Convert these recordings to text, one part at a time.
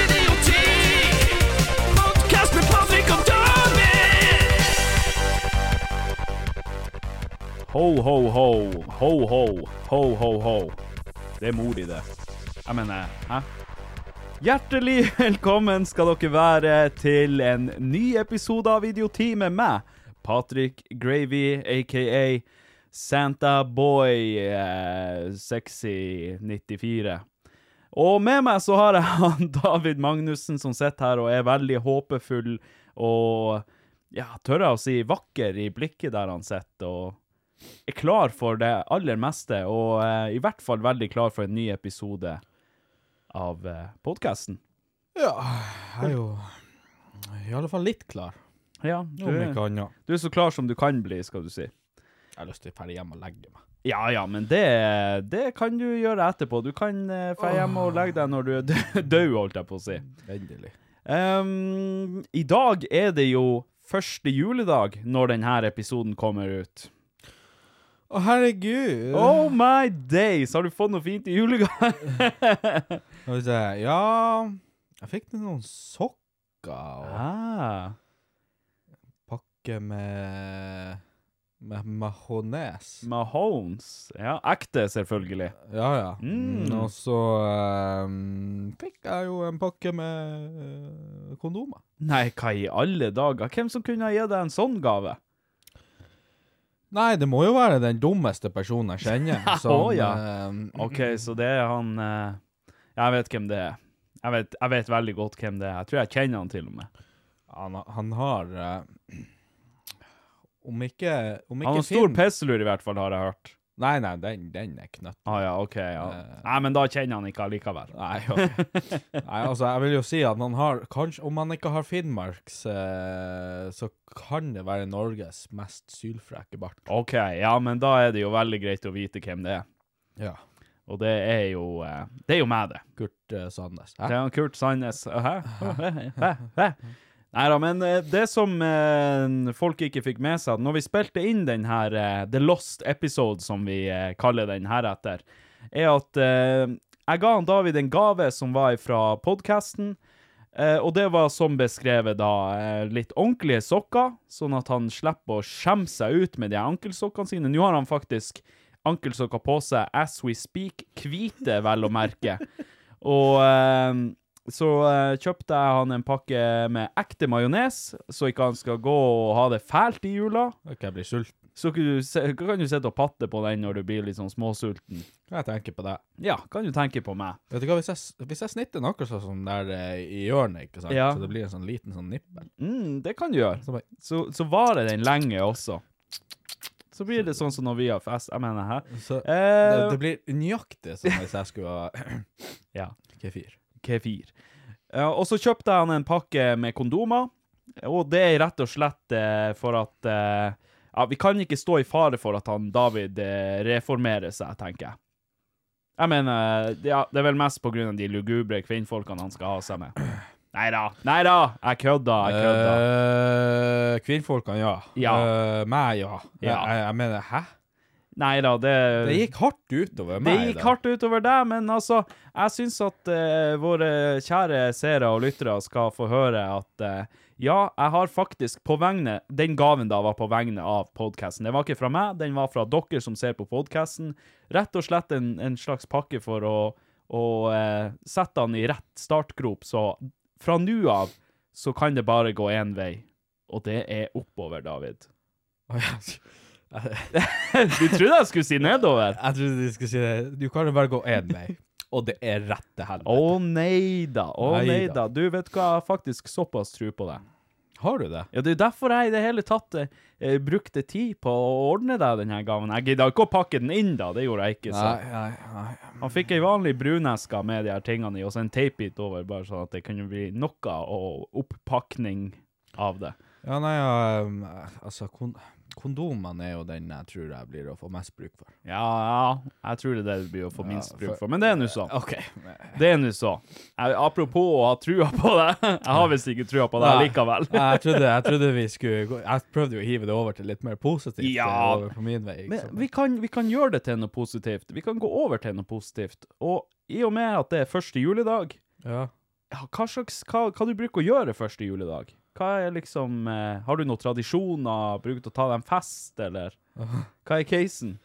Idioti! Podkast med Patrick og David! Ho, ho, ho. Ho, ho. Ho, ho, ho. Det er mor i det. Jeg mener, hæ? Hjertelig velkommen skal dere være til en ny episode av Idioti med meg, Patrick Gravy, aka Santa Boy eh, Sexy 94. Og med meg så har jeg han David Magnussen som sitter her og er veldig håpefull og ja, tør jeg å si vakker i blikket der han sitter og er klar for det aller meste, og eh, i hvert fall veldig klar for en ny episode av eh, podkasten. Jeg er jo i alle fall litt klar, Ja, du, om ikke annet. du er så klar som du kan bli, skal du si. Jeg har lyst til å dra hjem og legge meg. Ja, ja, men det, det kan du gjøre etterpå. Du kan eh, dra hjem og legge deg når du er dø- død, holdt jeg på å si. Endelig. Ehm, I dag er det jo første juledag når denne episoden kommer ut. Å, herregud! Oh my days! Har du fått noe fint i julegave? Skal vi se. Ja Jeg fikk noen sokker og ah. pakke med med majones. Mahones. Ja, ekte, selvfølgelig. Ja, ja. Mm. Og så ehm, fikk jeg jo en pakke med eh, kondomer. Nei, hva i alle dager? Hvem som kunne ha gitt deg en sånn gave? Nei, det må jo være den dummeste personen jeg kjenner. som, ja. ehm, OK, så det er han eh, Jeg vet hvem det er. Jeg vet, jeg vet veldig godt hvem det er. Jeg tror jeg kjenner han til og med. Han, han har eh, Om ikke om ikke Han har stor pisselur, i hvert fall, har jeg hørt. Nei, nei, den, den er knøtt. Ah, ja, OK. Ja. Nei, men da kjenner han ikke allikevel. Eh. Nei, ok. nei, altså, jeg vil jo si at han har kanskje, Om han ikke har Finnmarks, eh, så kan det være Norges mest sylfreke bart. OK, ja, men da er det jo veldig greit å vite hvem det er. Ja. Og det er jo eh, Det er jo meg, det. Kurt eh, Sandnes. Det Hæ? er han Kurt Sandnes. Hæ? Hæ? Hæ? Hæ? Nei da, men eh, det som eh, folk ikke fikk med seg, at når vi spilte inn den her eh, The Lost Episode, som vi eh, kaller den her etter, er at eh, jeg ga han David en gave som var fra podkasten. Eh, og det var som beskrevet da eh, litt ordentlige sokker, sånn at han slipper å skjemme seg ut med de ankelsokkene sine. Nå har han faktisk ankelsokker på seg as we speak, hvite vel å merke. Og eh, så eh, kjøpte jeg han en pakke med ekte majones, så ikke han skal gå og ha det fælt i jula. Ok, jeg blir sulten. Så kan du, se- kan du sitte og patte på den når du blir litt sånn småsulten. Jeg tenker på det. Ja, kan du tenke på meg. Vet du hva, hvis jeg, s- hvis jeg snitter noe sånn som der eh, i hjørnet, ikke sant? Ja. så det blir en sånn liten sånn nippel Mm, det kan du gjøre. Så bare Så, så varer den lenge også. Så blir det sånn som når vi har fest. Jeg mener, hæ? så, det, Eh, det blir nøyaktig som hvis jeg skulle ha Ja. kefir. Kefir. Eh, og så kjøpte han en pakke med kondomer, og det er rett og slett eh, for at eh, Ja, vi kan ikke stå i fare for at han David eh, reformerer seg, tenker jeg. Jeg mener, det- ja, det er vel mest på grunn av de lugubre kvinnfolkene han skal ha seg med. Neida, neida, jeg kødda, jeg kødda. Eh, kvinnfolkene, ja. Ja. Eh, meg, ja. Ja. Jeg, jeg mener, hæ? Neida, det... Det gikk hardt utover Det meg. gikk hardt utover deg, men altså, jeg syns at eh, våre kjære seere og lyttere skal få høre at eh, ja, jeg har faktisk på vegne Den gaven da var på vegne av podkasten. Den var ikke fra meg, den var fra dere som ser på podkasten. Rett og slett en, en slags pakke for å, å eh, sette han i rett startgrop, så fra nå av så kan det bare gå én vei, og det er oppover, David. Du trodde jeg skulle si nedover? Jeg trodde de skulle si det. Du kan jo bare gå én vei, og det er rett til helvete. Å nei da, å Nei nei da. da. Du vet hva, jeg har faktisk såpass tro på deg. Har du det? Ja, Det er jo derfor jeg i det hele tatt eh, brukte tid på å ordne deg denne gaven. Jeg gidda ikke å pakke den inn, da. Det gjorde jeg ikke. Så. nei, nei. Han fikk ei vanlig bruneske med de her tingene i, og så en teipbit over, bare sånn at det kunne bli noe og opppakning av det. Ja, nei, ja, um, altså, kon kondomene er jo den jeg tror jeg blir å få mest bruk for. Ja, ja, jeg tror det er det du blir å få minst bruk for, men det er nå sånn. OK. Det er nå sånn. Jeg- Apropos å ha trua på deg. Jeg har visst ikke trua på deg likevel. Nei, jeg, trodde, jeg trodde vi skulle gå Jeg prøvde jo å hive det over til litt mer positivt. eh, Ja. Over på min vei. ikke sant? Men vi kan, vi kan gjøre det til noe positivt. Vi kan gå over til noe positivt. Og i og med at det er første juledag, ja. ja, hva slags hva, hva du bruker å gjøre første juledag? Hva er liksom eh, Har du noen tradisjoner? Bruker du å ta deg en fest, eller? Hva er casen?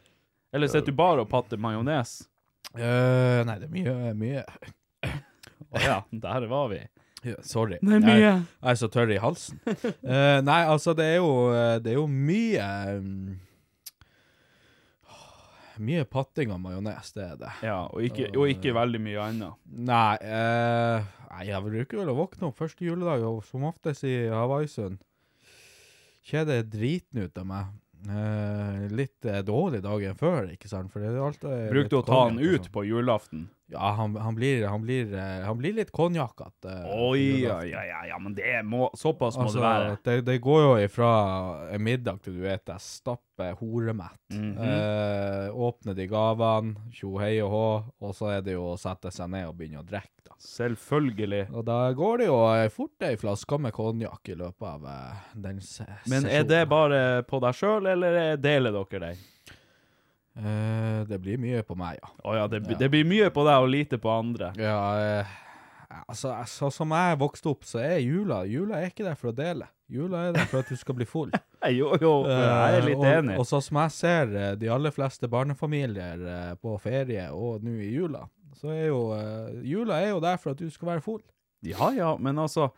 Eller sitter du bare og patter majones? Eh, nei, det er mye, mye. Å ja, der var vi. Ja, Sorry. Det er mye. Jeg, jeg er så tørr i halsen. Eh, nei, altså, det er jo, eh, det er jo mye um, Mye patting av majones, det er det. Ja, og ikke, og ikke veldig mye annet. Nei, eh, nei, jeg bruker vel å våkne opp første juledag, og som oftest i Havaisund. Kjeder driten ut av meg. Eh, litt eh, dårlig dagen før, ikke sant? For det er alltid litt Bruker du å ta han konjakk og ut sånn. på julaften? Ja, han, han, blir, han, blir, eh, han blir litt eh, konjakkete. Oi, ja, ja, ja, ja, men det må Såpass må Altså, det være. det, det går jo ifra en middag til du vet jeg stapper horemett. Mhm. eh, åpner de gavene, tjo hei og hå, og så er det jo å sette seg ned og begynne å drikke, da. Selvfølgelig. Og da går det jo eh, fort ei flaske med konjakk i løpet av eh, den se Men er det bare på deg sjøl, eller er- deler dere det? Eh, Det blir mye på meg, ja. Å ja, det, det blir mye på deg og lite på andre. ja eh, altså, altså, som jeg vokste opp, så er jula Jula er ikke der for å dele. Jula er der for at du skal bli full. Nei, Jo, jo, jeg er Eh, litt og, enig. Og så som jeg ser eh, de aller fleste barnefamilier eh, på ferie og nå i jula, så er jo eh, Jula er jo der for at du skal være full. Ja ja, men altså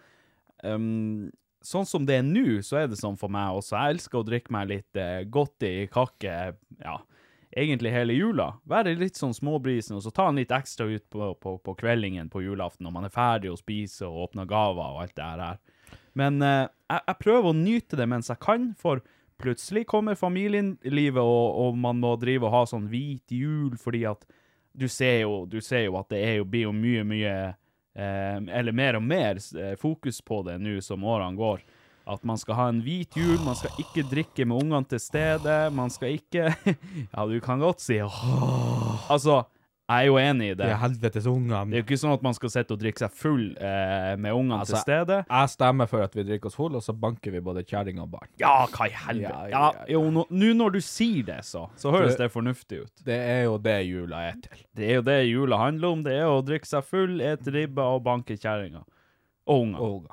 ehm, Sånn som det er nå, så er det sånn for meg også. Jeg elsker å drikke meg litt eh, godt i kakke, ja, egentlig hele jula. Være litt sånn småbrisen, og så ta en litt ekstra ut på, på, på kveldingen på julaften når man er ferdig å spise og åpne gaver og alt det her her. Men eh, jeg, jeg prøver å nyte det mens jeg kan, for plutselig kommer familielivet, og, og man må drive og ha sånn hvit jul fordi at du ser jo, du ser jo at det er jo, blir jo mye, mye eh, Eller mer og mer eh, fokus på det nå som årene går. At man skal ha en hvit jul, man skal ikke drikke med ungene til stede, man skal ikke Ja, du kan godt si «Åh». Altså, jeg er jo enig i det. Det er helvetes Det er ungene. jo ikke sånn at man skal sitte og drikke seg full eh, med ungene til stede. Altså, Jeg stemmer for at vi drikker oss full, og så banker vi både kjerring og barn. Ja, hva i helvete. Ja, Ja, ja, ja. jo, nå nå når du sier det, så, så høres Du- det fornuftig ut. Det er jo det jula er til. Det er jo det jula handler om. Det er å drikke seg full, ete ribbe og banke kjerringa. Og unger. Og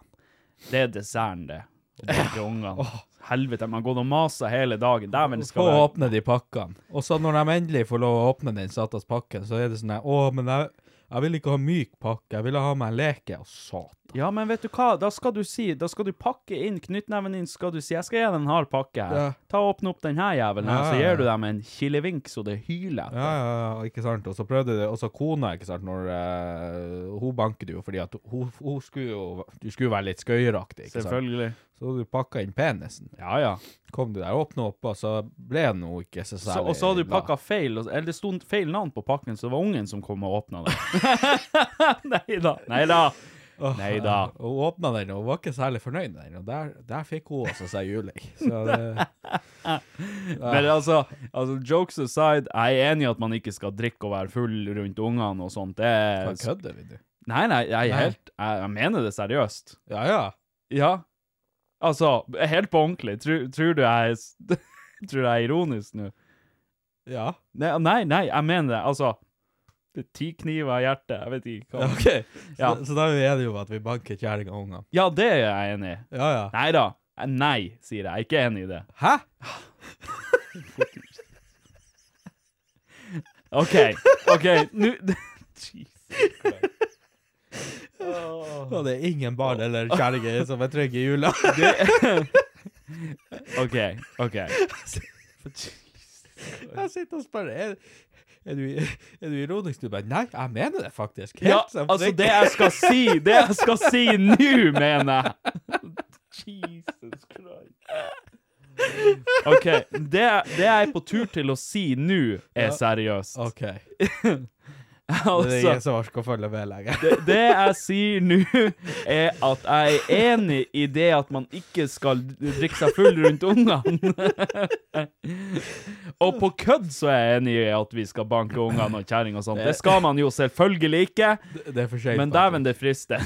Det er desserten, det. Å banke ungene. Helvete, man har gått og masa hele dagen. Dæven så skal være åpner de pakkene. Og så når de endelig får lov å åpne den satans pakken, så er det sånn her Å, men jeg, jeg vil ikke ha myk pakke, jeg ville ha meg en leke. Og satan. Ja, men vet du hva? Da skal du si Da skal du pakke inn knyttneven din, skal du si 'Jeg skal gi deg en hard pakke her'. Ja. Ta og Åpne opp den her jævelen her, Ja, så ja, gir du ja. dem en kilevink så det hyler. etter. Ja, ja, ja, ikke sant. Og så prøvde de, og så kona, ikke sant, når eh, Hun banket jo fordi at hun, hun skulle jo Du skulle være litt skøyeraktig, ikke sant. Selvfølgelig. Så du pakka inn penisen. Ja, ja. Kom du der, åpna opp, og så ble den jo ikke så Så, særlig og så hadde du glad. pakka feil, og- eller det sto feil navn på pakken, så det var ungen som kom og åpna det. Nei da. Nei da. Nei da. Hun åpna den, og hun var ikke særlig fornøyd med den. Og der, der fikk hun også seg juling. Så det, Men altså, altså, jokes aside, jeg er enig i at man ikke skal drikke og være full rundt ungene og sånt. Det hva er kødder vi nå? Nei, nei, jeg, er Nei. helt, jeg, jeg mener det seriøst. Ja ja. Ja. Altså, helt på ordentlig. Tror, tror du jeg er s- Tror jeg er ironisk nå? Ja. Nei, nei, nei, jeg mener det. Altså det er Ti kniver i hjertet. Jeg vet ikke hva OK. Så, Ja. så da er vi enige om at vi banker kjerringa og ungene. Ja, det er jeg enig i. Ja ja. Nei da. Nei, sier jeg. Jeg er ikke enig i det. Hæ? OK. OK, nå Jesus. Da er det ingen barn eller kjerringer som er trygge i jula. OK. OK. Jeg sitter og spør er, er, du, er du ironisk? Du bare Nei, jeg mener det faktisk. Helt Ja, som altså, trygg. det jeg skal si Det jeg skal si nå, mener jeg. Jesus Christ. OK. Det, det jeg er på tur til å si nå, er seriøst. OK. Det er Altså, ingen som orker å følge med lenger. det, det jeg sier nå, er at jeg er enig i det at man ikke skal drikke seg full rundt ungene. Og på kødd så er jeg enig i at vi skal banke ungene og kjerring og sånt. Det skal man jo selvfølgelig ikke, Det er for seint. men dæven, det frister.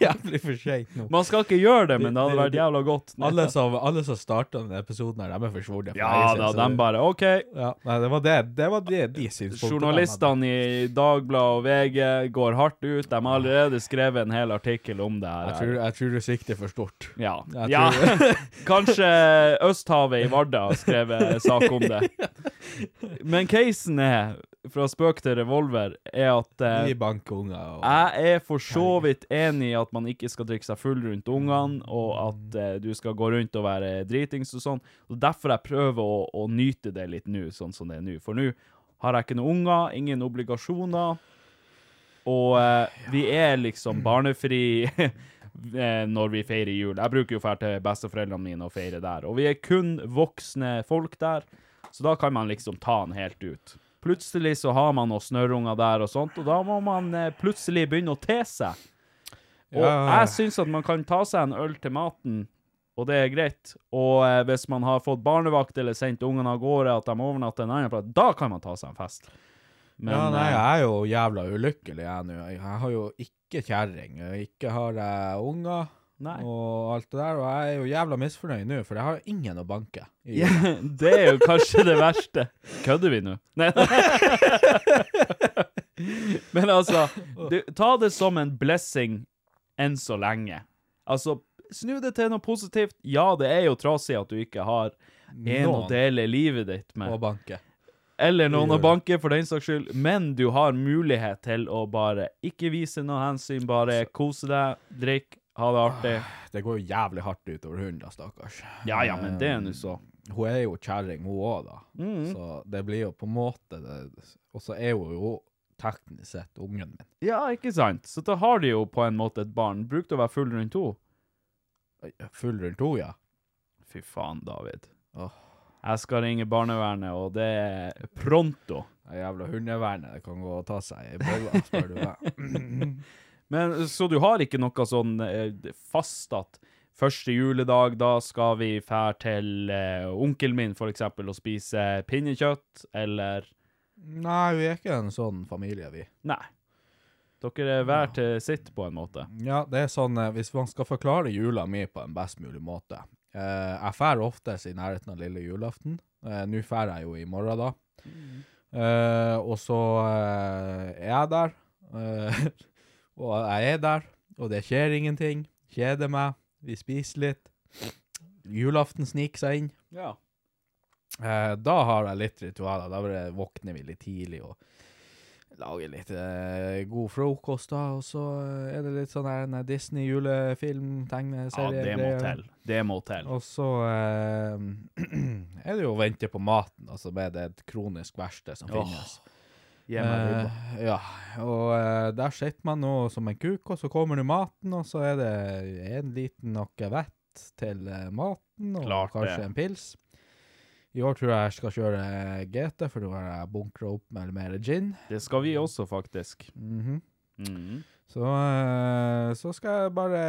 Jævlig for seint nå. Man skal ikke gjøre det, men det hadde vært jævla godt. Alle som, alle som starta denne episoden, her, de er forsvunnet. for Ja lenge siden, da, så de det- bare OK. ja, Nei, det var det, det var det de synspunktene. Journalistene i Dagbladet og VG går hardt ut. De har allerede skrevet en hel artikkel om det her. Jeg tror, jeg tror du sikter for stort. Ja. Jeg ja. tror- Kanskje Østhavet i Vardø har skrevet sak om det. Men casen er, fra spøk til revolver, er at eh, Vi banker unger og jeg er for så vidt enig i at man ikke skal drikke seg full rundt ungene, og at eh, du skal gå rundt og være dritings og sånn. Og derfor jeg prøver å, å nyte det litt nå, sånn som det er nå. For nå har jeg ikke noen unger, ingen obligasjoner, og eh, vi er liksom barnefri eh, når vi feirer jul. Jeg bruker jo å dra til besteforeldrene mine og feire der, og vi er kun voksne folk der, så da kan man liksom ta den helt ut. Plutselig så har man noen snørrunger der og sånt, og da må man eh, plutselig begynne å te seg. Og Ja. jeg syns at man kan ta seg en øl til maten, og det er greit. Og eh, hvis man har fått barnevakt eller sendt ungene av gårde, at de overnatter en annen plass, da kan man ta seg en fest. Men ja, nei, eh, jeg er jo jævla ulykkelig, jeg nå. Jeg jeg har jo ikke kjerring, og ikke har jeg unger Nei. og alt det der. Og jeg er jo jævla misfornøyd nå, for jeg har jo ingen å banke. i. det er jo kanskje det verste. Kødder vi nå? Nei. Men altså, du, ta det som en blessing enn så lenge. Altså, snu det til noe positivt. Ja, det er jo trasig at du ikke har en å Noen. dele livet ditt med. Å banke. Eller noen å banke, for den saks skyld. Men du har mulighet til å bare ikke vise noe hensyn, bare kose deg, drikk, ha det artig. Det går jo jævlig hardt utover hun, da, stakkars. Ja ja, men det er nå så. Mm. Hun er jo kjerring, hun òg, da. Så det blir jo på en måte det. Og så er hun jo teknisk sett ungen min. Ja, ikke sant? Så da har de jo på en måte et barn. Brukte å være full rundt to. Full rundt henne, ja. Fy faen, David. Åh. Jeg skal ringe barnevernet, og det er pronto. Det jævla hundevernet det kan gå og ta seg i bolla, spør du meg. Men Så du har ikke noe sånn eh, fast at første juledag, da skal vi fære til eh, onkelen min, for eksempel, og spise pinnekjøtt, eller Nei, vi er ikke en sånn familie, vi. Nei. Dere er hver til sitt, på en måte. Ja, det er sånn, eh, hvis man skal forklare jula mi på en best mulig måte. Eh, jeg fær oftest i nærheten av lille julaften. Eh, Nå fær jeg jo i morgen da. Eh, og så eh, er jeg der. Eh, og jeg er der, og det skjer ingenting. Kjeder meg. Vi spiser litt. Julaften sniker seg inn. Ja. Eh, da har jeg litt ritualer. Da bare våkner vi litt tidlig og lager litt eh, god frokost, da. Og så eh, er det litt sånn her en Disney-julefilm, ja, tegneserie det må til. Det må til. Og så eh, er det jo å vente på maten, altså med det kronisk verste som Åh, finnes. Gi meg ribba. Eh, ja, og eh, der sitter man nå som en kuk, og så kommer det maten, og så er det en liten noe vett til eh, maten, og Klart kanskje det. en pils. I år tror jeg jeg skal kjøre eh, GT, for nå har jeg bunkra opp med mer gin. Det skal vi også, faktisk. Mhm. Mhm. Så, eh, så skal jeg bare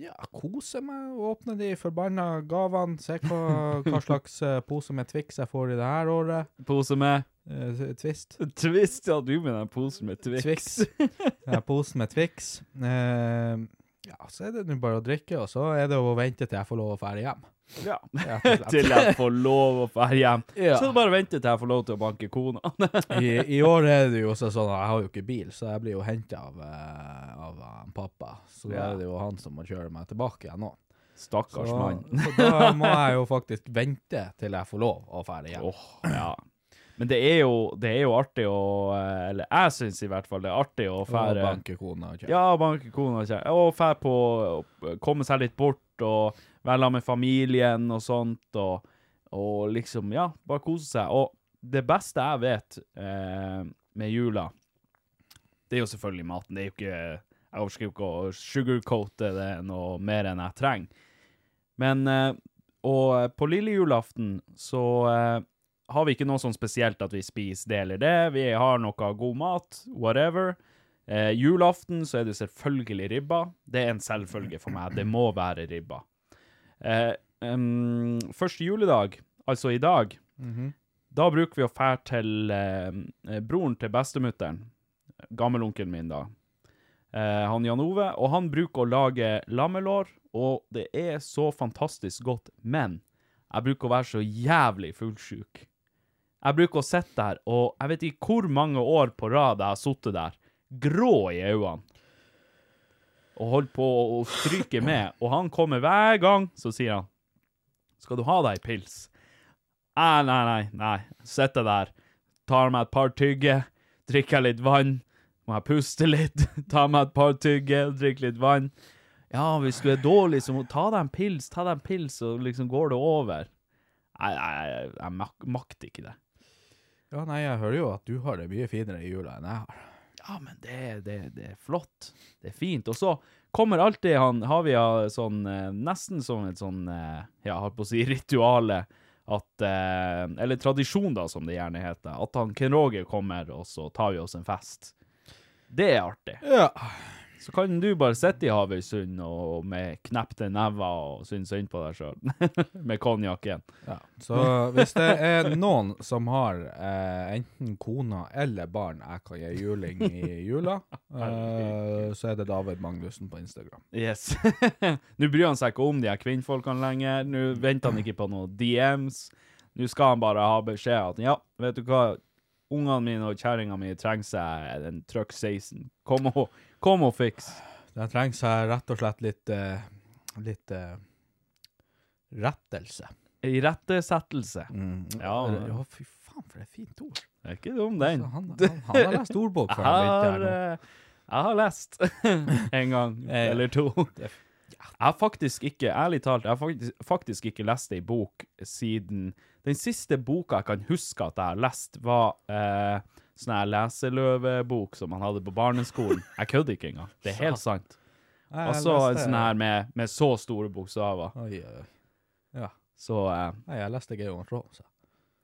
ja, kose meg og åpne de forbanna gavene. Se hva, hva slags eh, pose med Twix jeg får i det her året. Pose med Eh, Twist. Twist, ja, du med den posen med Twix. Twix. Ja, posen med Twix. Eh, ja, så er det nå bare å drikke, og så er det å vente til jeg får lov å fære hjem. Ja. Rett og slett. Til jeg får lov å dra hjem. Ja. Så er det bare å vente til jeg får lov til å banke kona. I, I år er det jo også sånn at jeg har jo ikke bil, så jeg blir jo henta av, eh, av han pappa. Så da Ja. er det jo han som må kjøre meg tilbake igjen nå. Så, Stakkars mann. så da må jeg jo faktisk vente til jeg får lov å fære hjem. Åh, ja. Men det er, jo, det er jo artig å eh, Eller jeg syns i hvert fall det er artig å og fære banke kona og kjøre. Ja, banke kona kjære. Og fære på å komme seg litt bort og være sammen med familien og sånt, og, og liksom, ja, bare kose seg. Og det beste jeg vet eh, med jula, det er jo selvfølgelig maten. Det er jo ikke Jeg orker jo ikke å sugarcoate det noe mer enn jeg trenger. Men eh, Og på lille julaften så eh, har vi ikke noe sånn spesielt at vi spiser det eller det. Vi har noe god mat, whatever. Eh, julaften så er det selvfølgelig ribba. Det er en selvfølge for meg. Det må være ribba. Eh, em, første juledag, altså i dag, da bruker vi å fære til eh, broren til bestemutteren, gammelonkelen min da, eh, han Jan Ove, og han bruker å lage lammelår, og det er så fantastisk godt, men jeg bruker å være så jævlig fullsjuk. Jeg bruker å sitte der, og jeg vet ikke hvor mange år på rad jeg har sittet der, grå i øynene, og holdt på å stryke med, og han kommer hver gang, så sier han, skal du ha deg pils? Nei, nei, nei, nei, sitter der, tar meg et par tygge, drikker litt vann, må jeg puste litt, tar meg et par tygge, drikker litt vann. Ja, hvis du er dårlig, så må ta deg en pils, ta deg en pils, og liksom går det over. Nei, nei, jeg, jeg mak makter ikke det. Ja, nei, jeg hører jo at du har det mye finere i jula enn jeg har. Ja, men det, det, det er flott. Det er fint. Og så kommer alltid han Havia sånn eh, Nesten som et sånn eh, Ja, holdt på å si rituale. At eh, Eller tradisjon, da, som det gjerne heter. At han Ken Roger kommer, og så tar vi oss en fest. Det er artig. Ja. Så kan du bare sitte i Havøysund og med knepte never og synes synd på deg sjøl. med konjakken. Ja, så hvis det er noen som har eh, enten kona eller barn jeg kan gi juling i jula, eh, så er det David Magnussen på Instagram. Yes. Nå bryr han seg ikke om de her kvinnfolkene lenger. Nå venter han ikke på noen DMs. Nå skal han bare ha beskjed at ja, vet du hva, ungene mine og kjerringa mi trenger seg en truck 16. Kom og, kom og fiks. Det trengs her rett og slett litt, eh, litt eh, rettelse. Irettesettelse. Ja, Eller, Mm. ja, fy faen, for det er fint ord. det er ikke dum, Så den. han, han, han har lest ordbok Jeg før han begynte her har, nå. eh, jeg har lest en gang Eh, eller to. Jeg har faktisk ikke, ærlig talt, jeg har faktisk, faktisk ikke lest ei bok siden Den siste boka jeg kan huske at jeg har lest, var eh, sånn her leseløvebok som man hadde på barneskolen. Jeg kødder ikke engang. Det er helt sant. Jeg Og så en leste- sånn her med, med så store bokstaver. Oi, oi, oi. Ja, Så eh, Nei, jeg leste Georg Rose.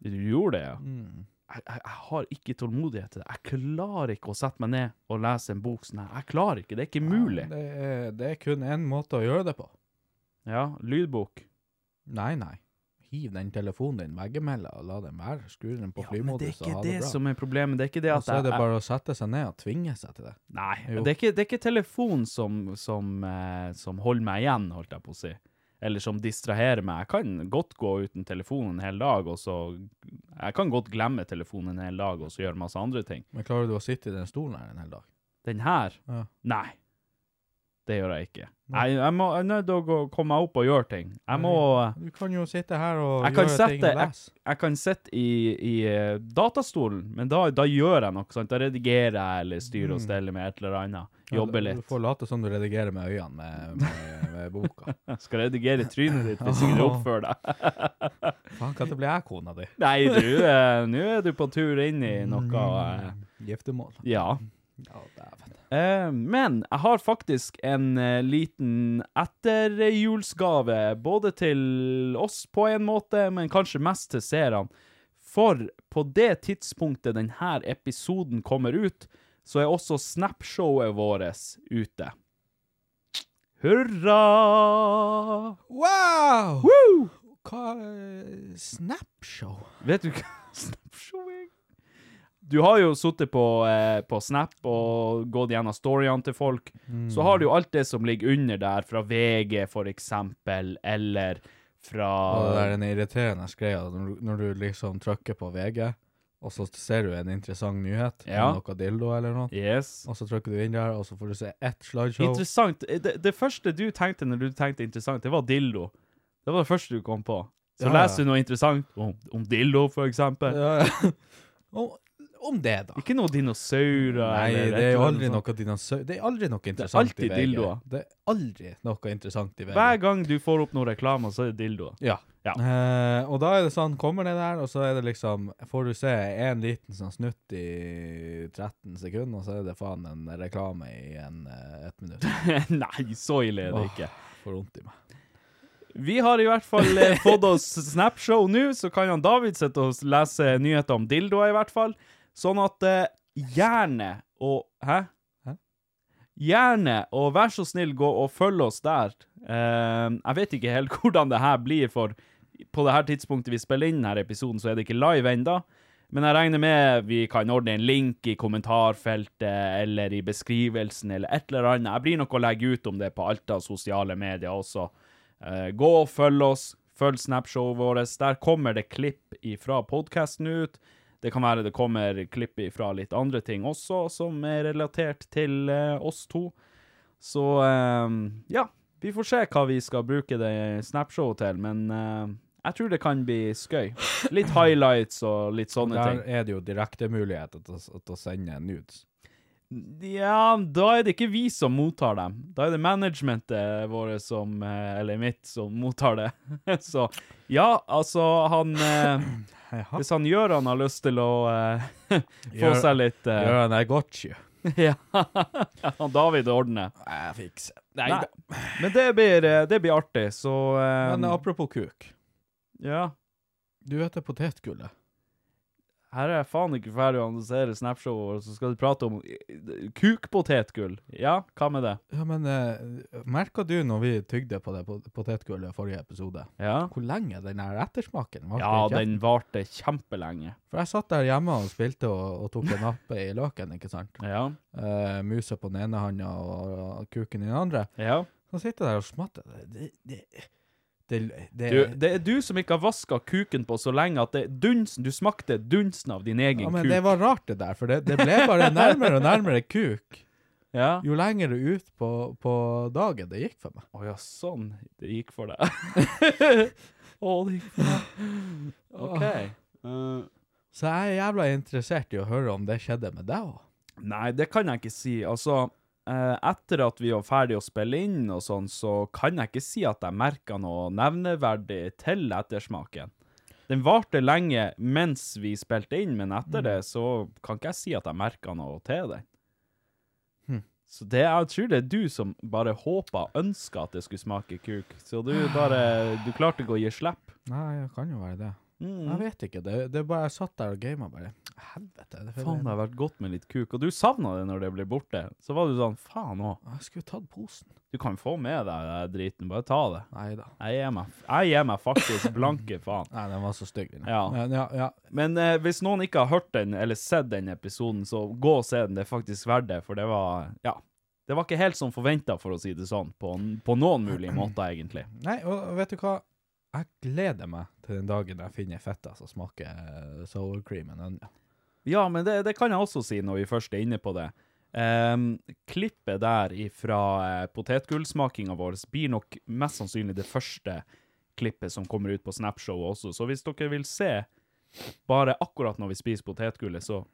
Du gjorde det, ja? Mm. Jeg, jeg, jeg har ikke tålmodighet til det. Jeg klarer ikke å sette meg ned og lese en bok sånn her. Jeg klarer ikke, det er ikke mulig. Det er, det er kun én måte å gjøre det på. Ja, lydbok. Nei, nei. Hiv den telefonen din veggimellom og la den være. Skru den på Ja, men det er flymodus og ikke ha det, det bra. som er problemet. Det er ikke det Og at så er det jeg- bare å sette seg ned og tvinge seg til det. Nei, Jo. det er ikke, det er ikke telefon som, som, eh, som holder meg igjen, holdt jeg på å si. Eller som distraherer meg. Jeg kan godt gå uten telefon en hel dag, og så Jeg kan godt glemme telefonen en hel dag, og så gjøre masse andre ting. Men klarer du å sitte i den stolen her en hel dag? Den her? Ja. Nei. Det gjør jeg ikke. Jeg, jeg, må, jeg er nødt til å gå- komme meg opp og gjøre ting. Jeg må Du kan jo sitte her og Jeg kan gjøre ting sette- og lese. jeg kan sitte i, i eh, datastolen, men da, da gjør jeg noe. sant? Da redigerer jeg eller styrer og steller med et eller annet. Jobber Mm. Ja, litt. Du får late som du redigerer med øynene med, med, med boka. Jeg skal redigere trynet ditt hvis du ikke oppfører deg. Faen, kan det bli jeg kona di? Nei, du, eh, nå er du på tur inn i noe Mm. eh, Giftermål. Ja. Ja, dæven. Eh, men jeg har faktisk en eh, liten etterjulsgave, både til oss på en måte, men kanskje mest til seerne. For på det tidspunktet denne episoden kommer ut, så er også Snapshowet vårt ute. Hurra! Wow! Woo! Hva er Snapshow? Vet du hva Snapshow er? Du har jo sittet på, eh, på Snap og gått gjennom storyene til folk. Så har du jo alt det som ligger under der, fra VG for eksempel, eller Og det fra er den irriterende greia når, du- når du liksom trykker på VG, og så ser du en interessant nyhet, Ja. om noe dildo eller noe, Yes. og så trykker du inn der, og så får du se ett slideshow. Interessant. Eh, Det, det første du tenkte når du tenkte interessant, det var dildo. Det var det første du kom på. Så Ja, ja. leser du noe interessant om, om dildo, for eksempel. Ja, ja. Om, om det, da. Ikke noe dinosaurer Nei, eller det er et eller jo annet aldri sånt. noe dinosaur... Det er aldri noe interessant alltid i VG. dildoer. Det er aldri noe interessant i VG. Hver gang du får opp noen reklamer, så er det dildoer. Ja. Ja. Eh, og da er det sånn, kommer det der, og så er det liksom Får du se en liten sånn snutt i 13 sekunder, og så er det faen en reklame i en, eh, ett minutt. Nei, så ille er det Åh. ikke. Får vondt i meg. Vi har i hvert fall eh, fått oss Snapshow nå, så kan han David sitte og lese nyheter om dildoer, i hvert fall. Sånn at eh, gjerne og Hæ? Hæ? Gjerne, og vær så snill, gå og følg oss der. Eh, jeg vet ikke helt hvordan det her blir, for på det her tidspunktet vi spiller inn denne episoden, så er det ikke live ennå. Men jeg regner med vi kan ordne en link i kommentarfeltet eller i beskrivelsen eller et eller annet. Jeg blir nok å legge ut om det på alt av sosiale medier også. Eh, gå og følg oss. Følg Snapshowet vårt. Der kommer det klipp ifra podkasten ut. Det kan være det kommer klipp ifra litt andre ting også, som er relatert til eh, oss to. Så eh, ja, vi får se hva vi skal bruke det Snapshowet til, men eh, jeg tror det kan bli skøy. Litt highlights og litt sånne Der ting. er det jo direkte muligheter til, å- til å sende nudes. Ja, da er det ikke vi som mottar dem. Da er det managementet våre som eh, Eller mitt som mottar det. Så ja, altså han eh, Jaha. Hvis han Gøran har lyst til å eh, få Gjør- seg litt eh, Gjør han I got you? Ja. han David ordner. Jeg fikser Nei. Men det blir, eh, det blir artig, så eh, Men apropos kuk. Ja. Du vet det potetgullet? Her er jeg faen ikke ferdig å annonsere Snapshow, og så skal du prate om eh, kukpotetgull. Ja, hva med det? Ja, men uh, merka du når vi tygde på det pot- potetgullet i forrige episode, Ja, hvor lenge den her ettersmaken var? ja den varte kjempelenge. For jeg satt der hjemme og spilte og, og tok en nappe i løken, ikke sant? Ja. Eh, muse på den ene handa og, og kuken i den andre. Ja. Så sitter jeg der og smatter. Det, det, det, det, det Du, det er du som ikke har vaska kuken på så lenge at det dunsen, du smakte dunsen av din egen ja, men kuk. det var rart, det der, for det, det ble bare nærmere og nærmere kuk. Ja. Jo lenger ut på, på dagen det gikk for meg. Å ja, sånn. Det gikk for deg. Å, det gikk for deg. OK. Ah. Eh, Så jeg er jævla interessert i å høre om det skjedde med deg òg. Nei, det kan jeg ikke si. Altså, eh, etter at vi var ferdig å spille inn og sånn, så kan jeg ikke si at jeg merka noe nevneverdig til ettersmaken. Den varte lenge mens vi spilte inn, men etter det Mm. så kan ikke jeg si at jeg merka noe til den. Hm. Så det, jeg tror det er du som bare håpa, ønska at det skulle smake kuk. Så du bare Du klarte ikke å gi slipp. Nei, det kan jo være det. Jeg vet ikke. Det, det er bare jeg satt der og gama bare. Helvete. Det Faen, det har vært godt med litt kuk. Og du savna det når det ble borte. Så var du sånn, faen òg. Jeg skulle tatt posen. Du kan få med deg den driten, bare ta det. Nei da. Jeg gir meg, jeg gir meg faktisk blanke faen. Nei, den var så stygg, den. Ja. Men ja, ja. Men eh, hvis noen ikke har hørt den, eller sett den episoden, så gå og se den. Det er faktisk verdt det, for det var Ja. Det var ikke helt som forventa, for å si det sånn, på, på noen mulige måter, egentlig. Nei, og vet du hva? Jeg gleder meg til den dagen jeg finner fetta som smaker eh, sour cream and onion. Ja, men det, det kan jeg også si når vi først er inne på det. Ehm, klippet der ifra uh, potetgullsmakinga vår blir nok mest sannsynlig det første klippet som kommer ut på Snapshow også, så hvis dere vil se bare akkurat når vi spiser potetgullet, så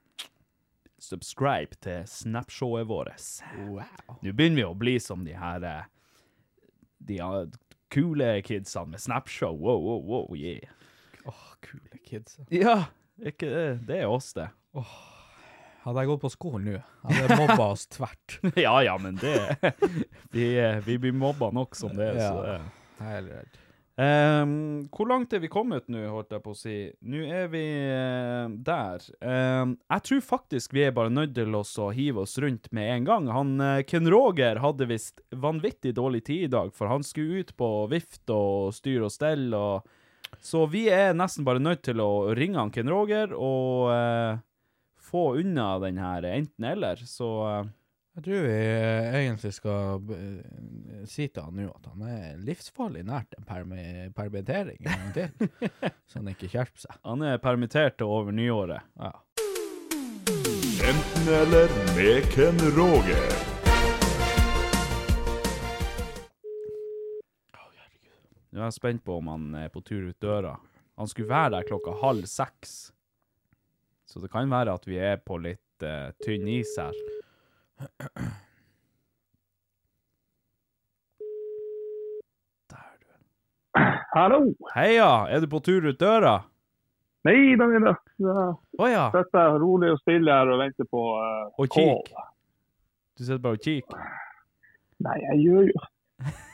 subscribe til Snapshowet vårt. Nå begynner vi å bli som de her eh, de eh, kule kidsene med Snapshow. Wow, wow, wow, yeah. Åh, kule kids. altså. Ja, ikke det. Det er oss, det. Hadde jeg gått på skolen nå, hadde jeg mobba oss tvert. Ja, ja, men det Vi, eh, vi blir mobba nok som det er, så Ja. Jeg er redd. det Ehm, hvor langt er vi kommet nå, holdt jeg på å si? Nå er vi eh, der. Ehm, jeg tror faktisk vi er bare nødt til oss å hive oss rundt med en gang. Han, eh, Ken Roger hadde visst vanvittig dårlig tid i dag, for han skulle ut på vift og styre og stelle. Og... Så vi er nesten bare nødt til å ringe han Ken Roger og eh, få unna den her enten-eller. Så eh, Jeg tror vi eh, egentlig skal eh, si til han nå at han er livsfarlig nært en permi permittering en gang til, så han ikke skjerper seg. han er permittert til over nyåret. Ja. Enten eller med Ken Roger. Nå er jeg spent på om han er på tur ut døra. Han skulle være der klokka halv seks. Så det kan være at vi er på litt eh, tynn is her. Der, du. Hallo! Heia, er du på tur ut døra? Nei da, nei da. Jeg Å ja, sitter rolig og stille her og venter på uh, og kikk. Du sitter bare og kikker. Nei, jeg gjør jo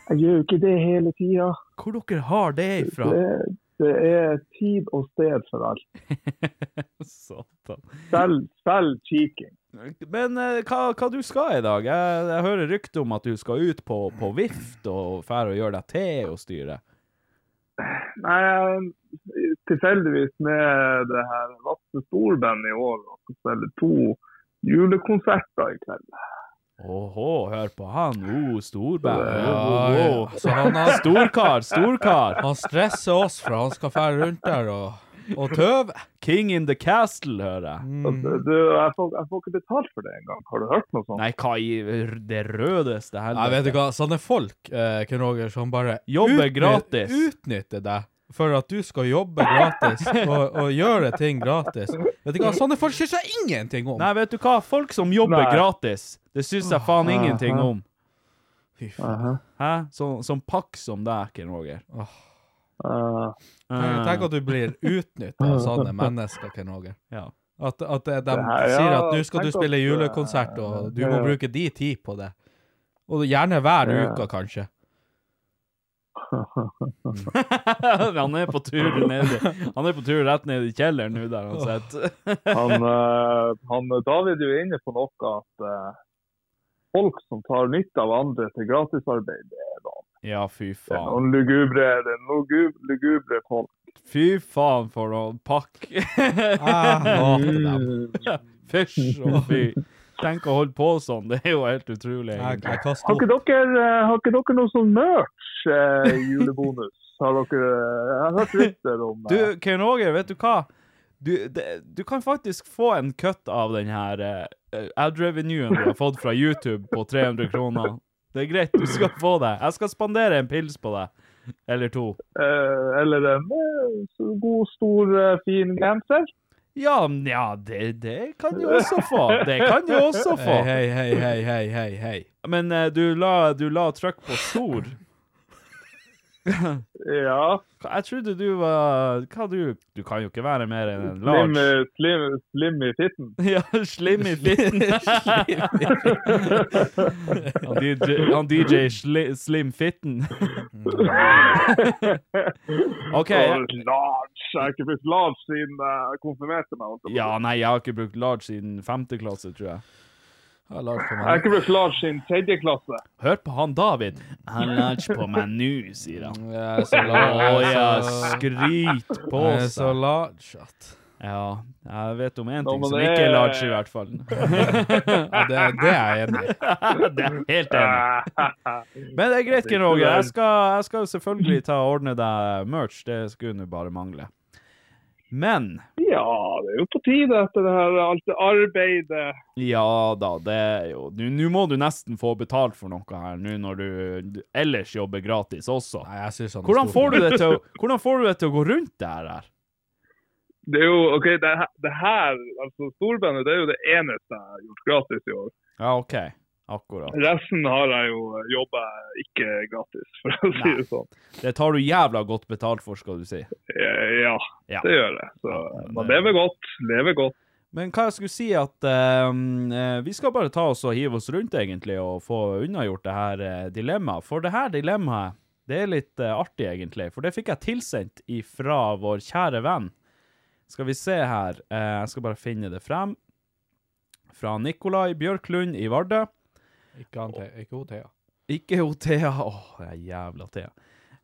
Jeg gjør jo ikke det hele tida. Hvor dere har det ifra? Det, det er tid og sted for alt. Satan. Selv, selv kikking. Men eh, hva, hva du skal i dag? Jeg, jeg hører rykte om at du skal ut på, på vift og fære og gjøre deg te og styre. Nei, jeg- tilfeldigvis med det her Vatten Storband i år og så spiller to julekonserter i kveld. Åhå, hør på han. Oh, storband. Ja, Oh, ja. oh, oh. Så han, har, Storkar, storkar. han stresser oss, for han skal fære rundt der og, og tøve. Mm. King in the castle, hører jeg. Så Du, jeg, får, jeg får ikke betalt for det engang. Har du hørt noe sånt? Nei, hva i r- det rødeste Jeg vet helvete? ikke hva, sånne folk, eh, Ken Roger, som bare Jobber utny- gratis. utnytter deg for at du skal jobbe gratis og, og gjøre ting gratis. Vet du hva, sånne folk syns jeg ingenting om. Nei, vet du hva? Folk som jobber Nei. gratis, det syns jeg faen ingenting om. Fy faen. Hæ? Sånn sånn pakk som deg, Ken Roger. Eh, Tenk tenk at du blir utnytta av sånne mennesker, Ken Roger. Ja. At, at de her, ja, sier at nå skal du tenk at, spille eh, julekonsert, og du må ja. bruke de tid på det. Og gjerne hver Ja. uke, kanskje. Eh. han er på tur ned i- Han er på tur rett ned i kjelleren nå, der han sitter. han, eh, han, David er jo inne på noe at eh, folk som tar nytte av andre til gratisarbeid, det er da Ja, fy det er faen. noen lugubre, det er noen gub- lugubre folk. Fy faen for noen pakk. Ah. Jeg hater dem. Fysj og fy. Tenk å holde på sånn, det er jo helt utrolig. Jeg, egentlig. jeg kaster Har opp. ikke dere, eh, har ikke dere noe sånn merch eh, julebonus? Har dere, eh, jeg har hørt rykter om eh, Du, Ken Roger, vet du hva? Du, det, du kan faktisk få en kutt av den her eh, ad revenuen du har fått fra YouTube på 300 kroner. Det er greit, du skal få det. Jeg skal spandere en pils på deg. Eller to. eh, Eller en eh, så god, stor, eh, fin genser? Ja, nja, det, det kan du også få. Det kan du også få. Hei, hei, hei, hei, hei, hei, hei. Men eh, du la, du la trykk på stor. Ja. Jeg trodde du var Hva du Du kan jo ikke være mer enn en Slim, large. eh, slim, slim i fitten. Ja, slim i fitten. han DJ, han DJ sli, Slim Fitten. OK. Og large. Jeg har ikke blitt large siden eh, jeg konfirmerte meg. altså. Ja, nei, jeg har ikke brukt large siden femte klasse, tror jeg. Jeg lar for Jeg har meg. ikke blitt large siden tredje klasse. Hør på han David. Han large på meg nå, sier han. Jeg er så Å ja, large. skryt på Jeg er så seg. large at Ja, jeg vet om én Nå, ting men som det- ikke er large, i hvert fall. ja, det, det er jeg enig i. Det er helt enig. Men Altså, det er greit, Ken Roger. Jeg skal, jeg skal jo selvfølgelig ta og ordne deg merch. Det skulle nå bare mangle. Men Ja, det er jo på tide etter det her, alt det arbeidet. ja da, det er jo Nå nå må du nesten få betalt for noe her, nå når du d- ellers jobber gratis også. Nei, jeg synes han er Hvordan stor. får du det til å, hvordan får du det til å gå rundt det her? her? Det er jo, ok, det, her- det her, altså storbandet, det er jo det eneste jeg har gjort gratis i år. Ja, OK. Akkurat. Resten har jeg jo jobba ikke gratis, for å si det sånn. Det tar du jævla godt betalt for, skal du si. Eh, Ja, Ja. det gjør jeg. Så Ja, men man det- lever godt, lever godt. Men hva jeg skulle si, at ehm, eh, vi skal bare ta oss og hive oss rundt, egentlig, og få unnagjort det her eh, dilemmaet. For det her dilemmaet, Det er litt eh, artig, egentlig, for det fikk jeg tilsendt ifra vår kjære venn. Skal vi se her eh, Jeg skal bare finne det frem. Fra Nikolai Bjørklund i Vardø. Ikke, han Thea- ikke hun Thea. Ikke hun Thea. Åh, det er jævla Thea.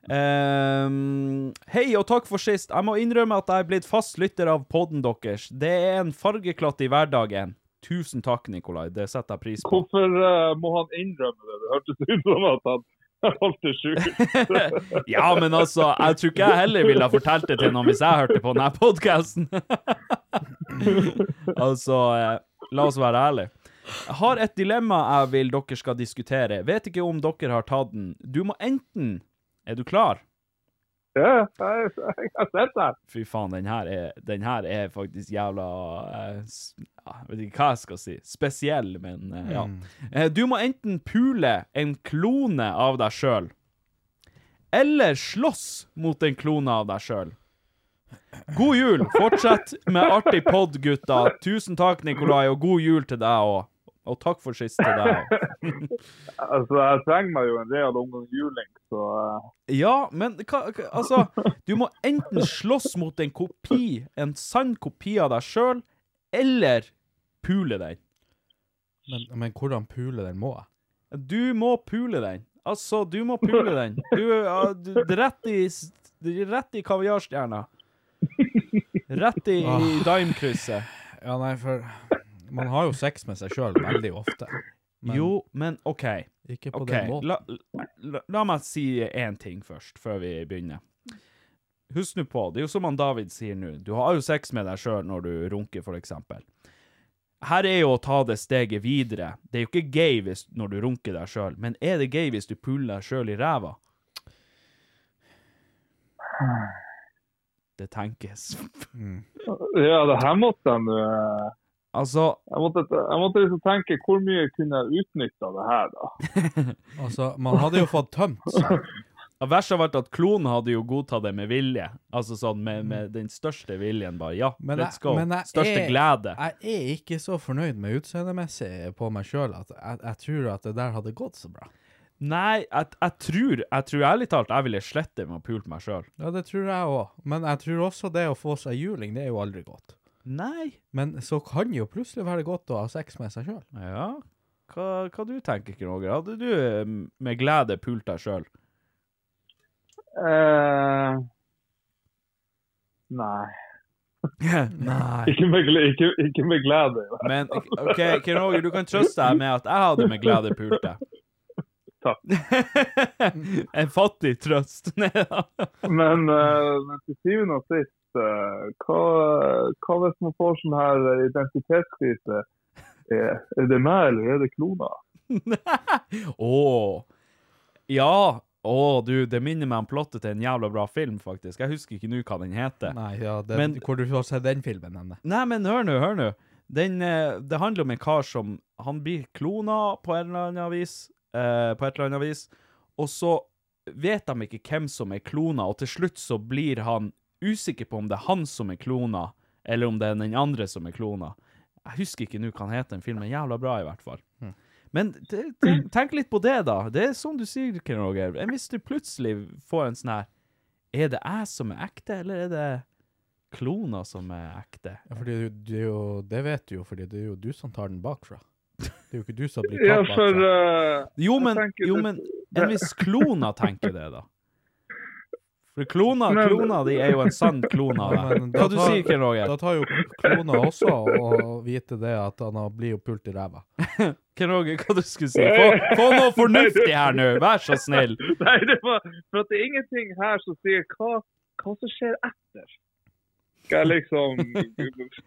Ehm, hei og takk for sist. Jeg må innrømme at jeg er blitt fast lytter av podden deres. Det er en fargeklatt i hverdagen. Tusen takk, Nikolai. Det setter jeg pris på. Hvorfor eh, må han innrømme det? Det hørtes ut som at han er alltid sjuk. Ja, men altså, jeg tror ikke jeg heller ville ha fortalt det til noen hvis jeg hørte på denne podkasten. altså, eh, la oss være ærlige. Jeg har et dilemma jeg vil dere skal diskutere. Vet ikke om dere har tatt den. Du må enten Er du klar? ja, jeg, jeg har sett det. Fy faen, den her er, den her er faktisk jævla eh, s- ja, Jeg vet ikke hva jeg skal si. Spesiell, men eh, ja. Eh, Du må enten pule en klone av deg sjøl, eller slåss mot en klone av deg sjøl. God jul! Fortsett med artig pod, gutta. Tusen takk, Nikolai, og god jul til deg òg. Og takk for sist til deg òg. Altså, jeg trenger meg jo en real omgang juling, så eh, Ja, men hva, hva- altså Du må enten slåss mot en kopi, en sann kopi av deg sjøl, eller pule den. Men, men hvordan pule den må jeg? Du må pule den. Altså, du må pule den. Du, ja, du rett i s- Rett i kaviarstjerna. Rett i, i dimekrysset. Ja, nei, for man har jo sex med seg sjøl veldig ofte. Men Jo, men OK. ikke på Ok, den måten. la, la, la meg si én ting først, før vi begynner. Husk nå på, det er jo som han David sier nå, du har jo sex med deg sjøl når du runker, for eksempel. Her er jo å ta det steget videre. Det er jo ikke gay hvis, når du runker deg sjøl, men er det gay hvis du puller deg sjøl i ræva? Det tenkes. ja, det her måtte jeg nå eh, Altså, jeg måtte, jeg måtte liksom tenke hvor mye kunne jeg utnytta det her, da. Altså, man hadde jo fått tømt seg. Ja, Verst av alt at klonen hadde jo godtatt det med vilje. Altså sånn med, med den største viljen, bare. Ja, Mm. Men jeg- let's go. men jeg største er- glede. Jeg er ikke så fornøyd med utseendemessig på meg sjøl at jeg, jeg tror at det der hadde gått så bra. Nei, jeg, jeg tror Jeg tror ærlig talt jeg ville slette med å pule meg sjøl. Ja, det tror jeg òg. Men jeg tror også det å få seg juling, det er jo aldri godt. Nei. Men så kan jo plutselig være godt å ha sex med seg sjøl. Ja. Hva, hva du tenker Knoger? Hadde du eh, med glede pult deg sjøl? Eh, nei. Nei. Ikke med, gle- ikke, ikke med glede. i hvert Men OK, Knoger, du kan trøste deg med at jeg hadde med glede pult deg. Takk. en fattig trøst. Nei da. fall. Men, eh, men til syvende og sist, eh, hva, hva hvis man får sånn her identitetskrise? Er, er det meg, eller er det klona? Åh. Ja. Å, du, det minner meg om plottet til en jævla bra film, faktisk. Jeg husker ikke nå hva den heter. Nei, ja, det, Men- hvor du har sett den filmen henne. Nei, men hør nå, hør nå. Den, eh, det handler om en kar som Han blir klona på en eller annen vis, eh, på et eller annet vis, og så vet de ikke hvem som er klona, og til slutt så blir han usikker på om det er han som er klona, eller om det er den andre som er klona. Jeg husker ikke nå hva han heter, den filmen er jævla bra, i hvert fall. Men te- tenk, tenk litt på det, da. Det er som du sier, Ken Roger. Hvis du plutselig får en sånn her Er det jeg som er ekte, eller er det klona som er ekte? Ja, fordi du, du, er jo- det vet du jo, fordi det er jo du som tar den bakfra. Det er jo ikke du som blir altså. Ja, tatt for bakfra. eh, Jo, men, Jeg tenker jo, det- men en viss klona tenker det, da. For klona, Men- klona di er jo en sann klona. Ja, men Hva da du tar- sier Ken Da Roger? tar jo klona også å vite det at han har- blir jo pult i ræva. Ken Roger, hva du skulle si? Få, få noe fornuftig her nå, vær så snill. Nei, det var for at det er ingenting her som sier hva, hva som skjer etter. Skal jeg liksom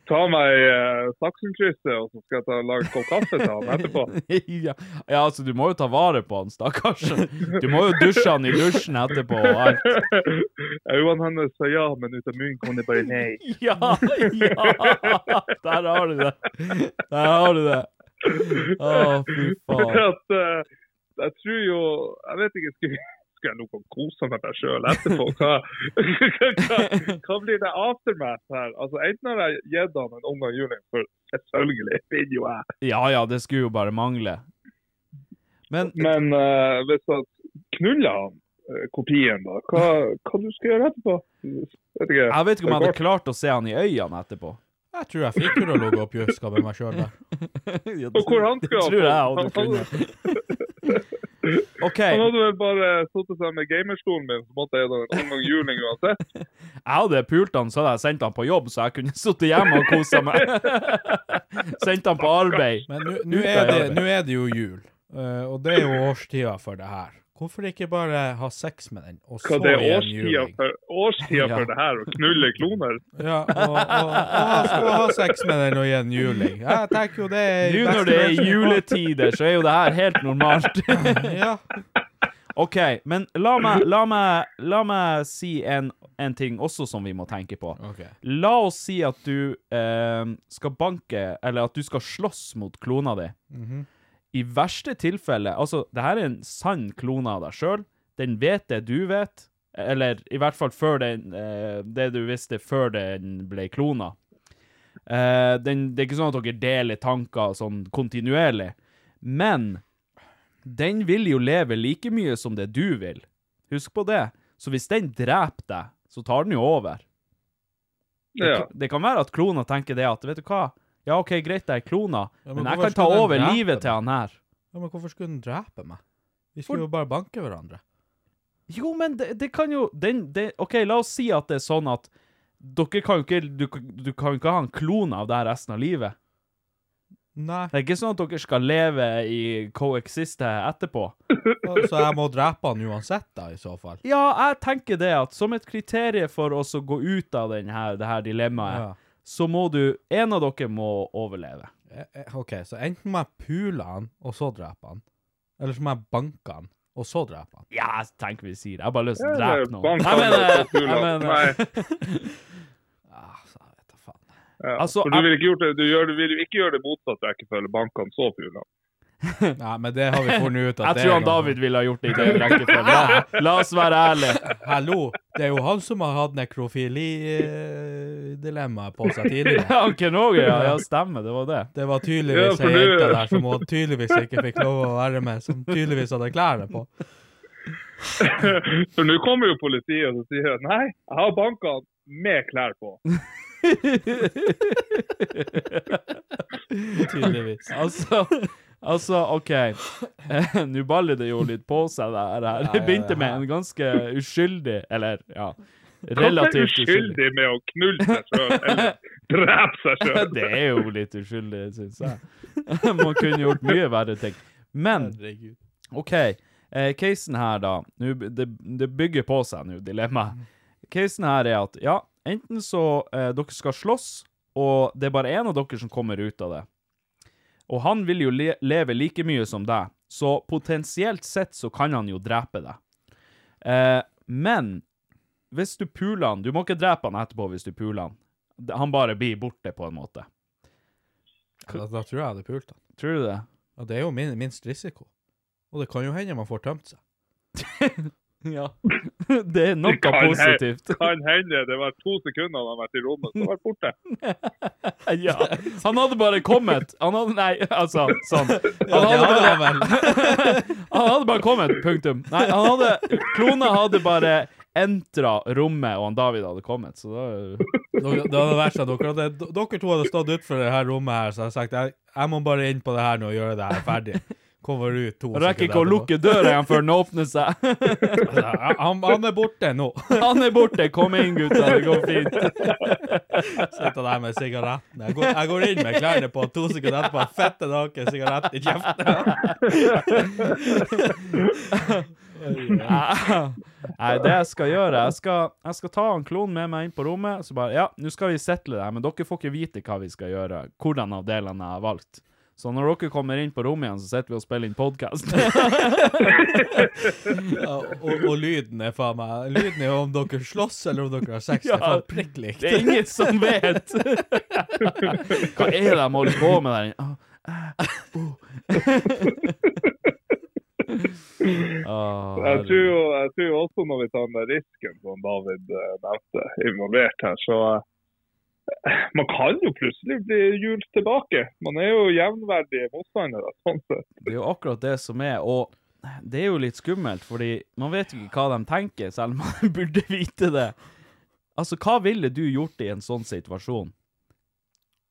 ta meg eh, Saksenkrysset og så skal jeg ta, lage en kopp kaffe til han etterpå? Ja, ja, altså, du må jo ta vare på han, stakkars. Du må jo dusje han i dusjen etterpå og alt. Øynene hennes sa ja, men ut av munnen kom det bare nei. Ja, ja! Der har du det. Der har du det. Å, fy For faen. at, eh, jeg tror jo Jeg vet ikke, skal, skal jeg noe kose meg med meg sjøl etterpå? Hva, hva, hva, hva blir det aftermath her? Altså, Enten har jeg gitt han en omgang juling, for selvfølgelig vil jo jeg Ja ja, det skulle jo bare mangle. Men Men eh, hvis han knuller han, eh, kopien, da. Hva, hva du skal gjøre etterpå? Vet ikke. Jeg vet ikke om jeg hadde klart å se han i øynene etterpå. Jeg tror jeg fikk til å ligge og pjuske med meg sjøl der. Ja, Og hvor han det skulle tror jeg ha hadde Han- kunnet. OK, Han hadde vel bare sittet seg med gamerstolen min, så måtte jeg da en omgang juling uansett. jeg hadde pult han, så hadde jeg sendt han på jobb, så jeg kunne sittet hjemme og kosa meg. Sendt han på arbeid. Men nå- nå er, det- nå er det jo jul, eh, og det er jo årstida for det her. Hvorfor ikke bare ha sex med den, og så Hva det er i en årstida juling? for, årstida Ja. for det her, å knulle kloner? Ja, og, og, og, ha- og ha sex med den og gi en juling. Jeg tenker jo det er Nå når det er juletider, så er jo det her helt normalt. Ja. OK, men la meg, la meg, la meg si en, en ting også som vi må tenke på. Ok. La oss si at du eh, skal banke, eller at du skal slåss mot klona di. I verste tilfelle Altså, det her er en sann klone av deg sjøl. Den vet det du vet, eller i hvert fall før den, eh, det du visste før den ble klona. Eh, den, det er ikke sånn at dere deler tanker sånn kontinuerlig, men den vil jo leve like mye som det du vil. Husk på det. Så hvis den dreper deg, så tar den jo over. Det, Ja. kan- det kan være at kloner tenker det at, vet du hva, ja ok, greit, jeg er kloner, Ja, men men jeg hvorfor kan ta skal den over drepe livet meg? til han her. ja, men hvorfor skulle den drepe meg? Vi skulle jo bare banke hverandre. Jo, men det, det kan jo den, det, OK, la oss si at det er sånn at dere kan jo ikke Du, du kan jo ikke ha en klone av det her resten av livet. Nei, Det er ikke sånn at dere skal leve i coexiste etterpå. så jeg må drepe han uansett, da, i så fall. Ja, jeg tenker det at som et kriterium for oss å gå ut av den her, det her dilemmaet, Ja. så må du En av dere må overleve. Eh, eh, OK, så enten må jeg pule han, og så drepe han. Eller så må jeg banke han, og så drepe han. Ja, jeg tenker vi sier det. Jeg har bare lyst til å Eller drepe noen. eh, bank Jeg han mener, og så jeg knulle han. Nei. mener Altså, jeg vet da faen. Ja. Altså, For du jeg- vil, ikke gjort det, du, gjør, du vil jo ikke gjøre det motsatt rekkefølge, bankene så pula. Nei, men det har vi funnet ut at Jeg det tror er han noe- David ville ha gjort det i den rekkefølgen. La- La oss være ærlige. Hallo, det er jo han som har hatt nekrofili-dilemmaet på seg tidligere. Ja, Kenoge, ja. ja, stemmer, det var det. Det var tydeligvis Ja, for ei du- jente der som hun tydeligvis ikke fikk lov å være med, som tydeligvis hadde klærne på. For nå kommer jo politiet og så sier jeg, nei, jeg har bankene med klær på. Tydeligvis. Altså, altså OK. Eh, Nå baller det jo litt på seg, det her. her. Det begynte med en ganske uskyldig, eller ja, Relativt relativt uskyldig. uskyldig med å knulle seg sjøl, eller drepe seg sjøl. Det er jo litt uskyldig, syns jeg. Man kunne gjort mye verre ting. Men Herregud. OK, eh, casen her, da. Nå, b- det, det bygger på seg nå, dilemmaet. Casen her er at ja, enten så eh, dere skal slåss, og det er bare én av dere som kommer ut av det. Og han vil jo le leve like mye som deg, så potensielt sett så kan han jo drepe deg. Eh, men hvis du puler han Du må ikke drepe han etterpå hvis du puler han. D- Han bare blir borte, på en måte. Da, da tror jeg jeg hadde pult han. Tror du det? Og det er jo min, minst risiko. Og det kan jo hende man får tømt seg. Ja. Det er Det noe kan he- positivt. Kan hende det var to sekunder han har vært i rommet, så har han vært borte. Ja. Han hadde bare kommet. Han hadde, nei, altså, sånn. Han Ja, hadde bare, vel. han hadde bare kommet, punktum. Nei, han hadde, klona hadde bare entra rommet, og han David hadde kommet, så da... Dere- Det hadde vært sånn, dere, hadde, d- dere to hadde stått utenfor det her rommet her, så hadde jeg sagt jeg, jeg må bare inn på det her nå og gjøre det her ferdig. Kommer ut to Han rekker ikke å etterpå. lukke døra igjen før den åpner seg. Ja, Han, han er borte nå. Han er borte, kom inn gutta, det går fint. Sitter der med sigaretten. Jeg går, jeg går inn med klærne på, to sekunder etterpå har jeg fette naken, sigarett i kjeften. Ah. Nei, det jeg skal gjøre, jeg skal, jeg skal ta han klonen med meg inn på rommet, så bare, ja, nå skal vi settle det her, men dere får ikke vite hva vi skal gjøre, hvordan av delene jeg har valgt. Så når dere kommer inn på rommet igjen, så sitter vi og spiller inn podcast. Ja, og, og lyden er faen meg Lyden er om dere slåss eller om dere har sex. Det er Ja, faen prikk likt. Det er ingen som vet! Hva er det de holder på med der inne? Ah, Jeg tror, jo, jeg tror jo også når vi tar den der risken som David eh, nevnte, involvert her, så eh, man kan jo plutselig bli hjult tilbake. Man er jo jevnverdige motstandere. sånn sett. Det er jo akkurat det som er, og det er jo litt skummelt, fordi man vet jo ikke hva de tenker, selv om man burde vite det. Altså, hva ville du gjort i en sånn situasjon?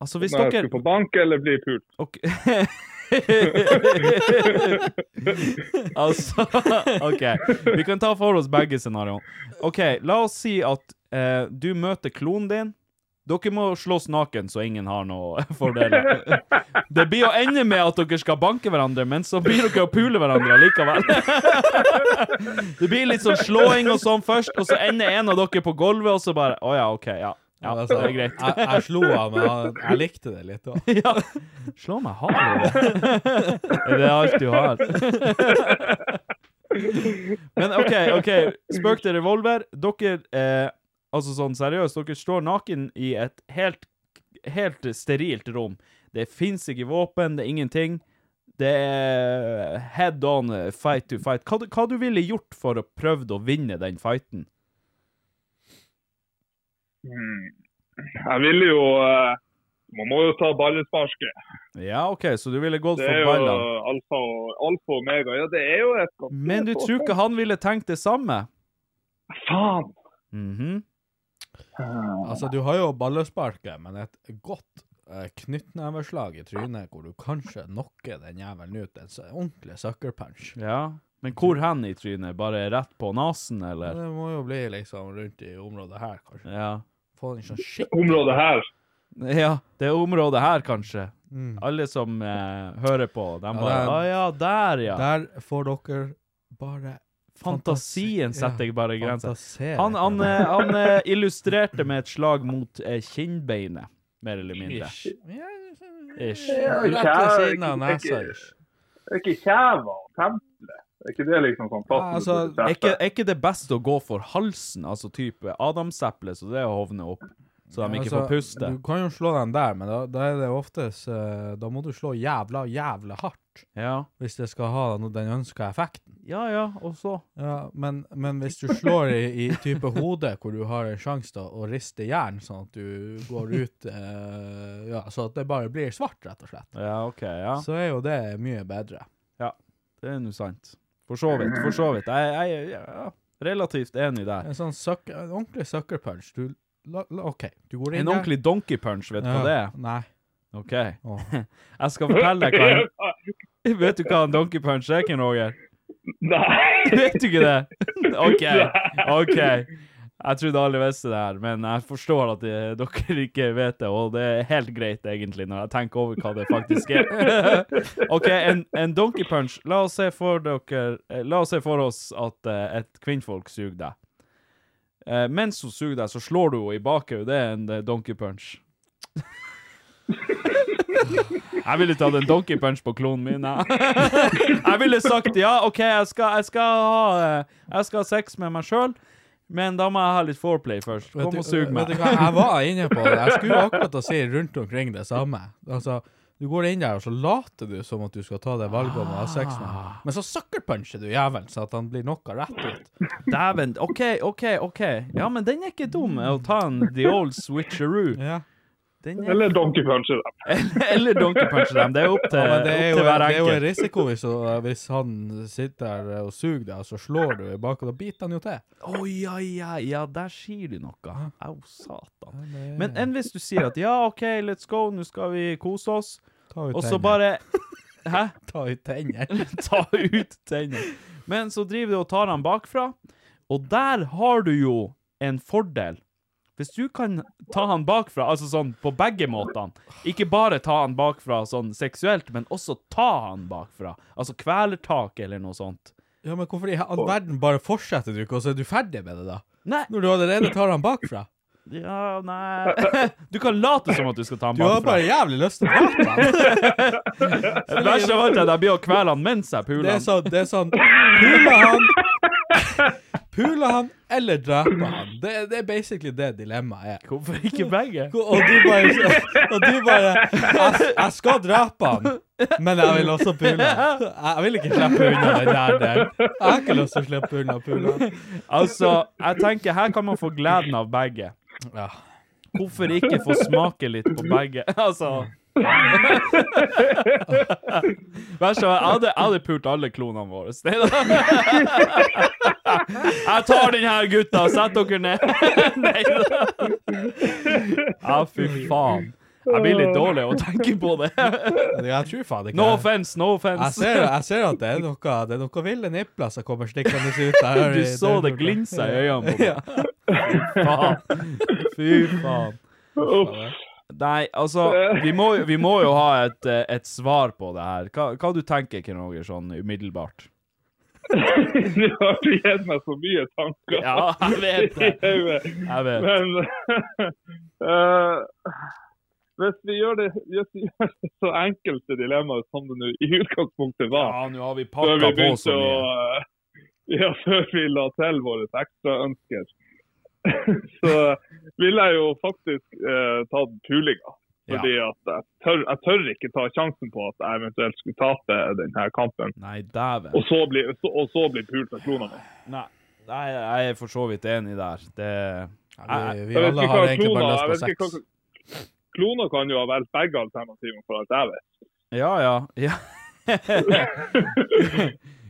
Altså, hvis Om jeg dere skulle på bank eller bli pult. Ok. altså OK. Vi kan ta for oss begge scenarioene. OK, la oss si at eh, du møter klonen din. Dere må slåss naken, så ingen har noe fordeler. Det blir å ende med at dere skal banke hverandre, men så blir dere å pule hverandre likevel. Det blir litt sånn slåing og sånn først, og så ender en av dere på gulvet, og så bare Å ja, OK, ja. Ja, Men det altså, er greit. Jeg, jeg slo han, men han- jeg likte det litt òg. Ja. Slå meg hardere. Er det alt du har? Men OK, ok, spøk til revolver. Dere, eh, altså sånn seriøst, dere står naken i et helt, helt sterilt rom. Det fins ikke våpen, det er ingenting. Det er head on eh, fight to fight. Hva, du- hva du ville gjort for å prøvd å vinne den fighten? Hmm. Jeg ville jo eh, Man må jo ta ballesparket. Ja, OK, så du ville gått Det for er jo ballene. alfa og, alfa og omega. Ja, det er jo et godt Men du tror ikke han ville tenkt det samme? Faen! Mhm. Altså, du har jo ballesparket, men et godt eh, knyttneveslag i trynet hvor du kanskje knocker den jævelen ut. En så- ordentlig sucker punch. Ja, men hvor hen i trynet? Bare rett på nasen, eller? Det må jo bli liksom rundt i området her, kanskje. Ja. Få den sånn skikkelig Området her. ja, det området her, kanskje. Mm. Alle som eh, hører på, de bare der- Å ja, der, ja. Der får dere bare Fantasien setter bare grenser. fantasere. Han, han, eh, han eh, illustrerte med et slag mot eh, kinnbeinet, mer eller mindre. Ish. Ja, Ish. ja, Rett ved siden av nesa. ish. Det er ikke kjeva og tempelet. Det er ikke det liksom sånn fast Ja, altså, det Er ikke, er ikke det best å gå for halsen, altså type adamseple, så det hovner opp? Så de ikke får Altså, puste? Du kan jo slå den der, men da, da er det oftest eh, Da må du slå jævla, jævla hardt Ja. hvis det skal ha den, den ønska effekten. ja ja, og så? Ja, men, men hvis du slår i, i type hode, hvor du har en sjanse til å riste jern, sånn at du går ut eh, Ja, så at det bare blir svart, rett og slett, Ja, OK, ja. så er jo det mye bedre. Ja, det er nå sant. For så vidt, for så vidt. Jeg, jeg, jeg er relativt enig der. En sånn suck, en ordentlig sucker punch. Du la, la, OK, du går inn En ordentlig donkey punch, vet du hva det er? Nei. OK. Åh. Jeg skal fortelle deg hva en, Vet du hva en donkey punch er, Ken Roger? Nei! Vet du ikke det? OK. OK. Jeg trodde alle visste det her, men jeg forstår at det, dere ikke vet det, og det er helt greit, egentlig, når jeg tenker over hva det faktisk er. OK, en, en donkey punch. La oss se for dere eh, La oss se for oss at eh, et kvinnfolk suger deg. Eh, mens hun suger deg, så slår du henne i bakhodet. Det er en eh, donkey punch. Jeg ville tatt en donkey punch på klonen min. Jeg, jeg ville sagt ja, OK, jeg skal, jeg skal, ha, eh, jeg skal ha sex med meg sjøl, men da må jeg ha litt foreplay først. Vet Kom du- og sug meg. Vet du hva, jeg var inne på det. Jeg skulle akkurat å si rundt omkring det samme. Altså, du går inn der, og så later du som at du skal ta det valget om å ha sex med Ah. ham. Men så suckerpuncher du jævelen, så at han blir knocka rett ut. Dæven. OK, OK, OK. Ja, men den er ikke dum, eh, å ta en the old switcheroo. Ja. Den er, Eller Donkey Punch. da. eller donkey punch dem. Det er opp til, men det er, Eh, opp jo, til hver det er jo en enkelt. risiko hvis, hvis han sitter der og suger deg, og så slår du i baken. Da biter han jo til. Å ja, ja, ja, der sier du noe. Au, satan. Men enn hvis du sier at ja, OK, let's go, nå skal vi kose oss, Ta ut og så tennene. bare Hæ? Ta ut tennene. ta ut tennene. Men så driver du og tar han bakfra, og der har du jo en fordel. Hvis du kan ta han bakfra, altså sånn på begge måtene, ikke bare ta han bakfra sånn seksuelt, men også ta han bakfra, altså kvelertak eller noe sånt. Ja, men hvorfor i all verden bare fortsetter du ikke, og så er du ferdig med det, da? Nei, Når du allerede tar han bakfra? ja, nei Du kan late som at du skal ta han Du har bakfra. bare jævlig lyst til å prate han. Det verste av alt er at jeg blir å kvele han mens jeg puler Det er han. sånn, det er sånn Pula han Pula han eller drepe han det, det er basically det dilemmaet er Hvorfor ikke begge? og du bare, og du bare jeg, jeg skal drepe han Men jeg vil også pule han Jeg vil ikke slippe unna den der delen Jeg har ikke lyst til å slippe unna pula han Altså, jeg tenker her kan man få gleden av begge. ja. Hvorfor ikke få smake litt på begge? Altså, Verst av alt, jeg hadde- jeg hadde pult alle klonene våre. Nei da. Jeg tar den her, gutta! Sett dere ned! Nei da. Ja, fy faen. Jeg blir litt dårlig av å tenke på det. Jeg tror faen ikke No jeg- offense, no Jeg offense. ser, jeg ser at det er noe Det er noe ville nipler som kommer stikkende ut. her Du i- så det glinsa i øynene på meg. Fy faen. Fy faen. Nei, altså, vi må, vi må jo ha et, eh, et svar på det her. Hva, hva du tenker du, Roger, sånn umiddelbart? Du har ikke gitt meg så mye tanker. Ja, jeg vet i det. hodet. Jeg vet. Men eh, hvis, vi gjør det, hvis vi gjør det så enkelte dilemmaer som det nå i utgangspunktet var, Ja, nå har vi før pakka vi på begynte så å mye. eh, ja, før vi la til våre ekstraønsker, så ville jeg jo faktisk eh, tatt pulinga. Ja. Fordi at jeg tør, jeg tør ikke ta sjansen på at jeg eventuelt skulle tape denne kampen, Nei, dæven. og så bli, så, og så bli pult av klonene. Nei, nei, jeg er for så vidt enig der. Det Ja, Vi, vi Jeg vet alle ikke har hva egentlig bare kloner- lyst jeg på vet sex. ikke hva- Kloner kan jo ha valgt begge alternativene for alt jeg vet. Ja, ja. ja.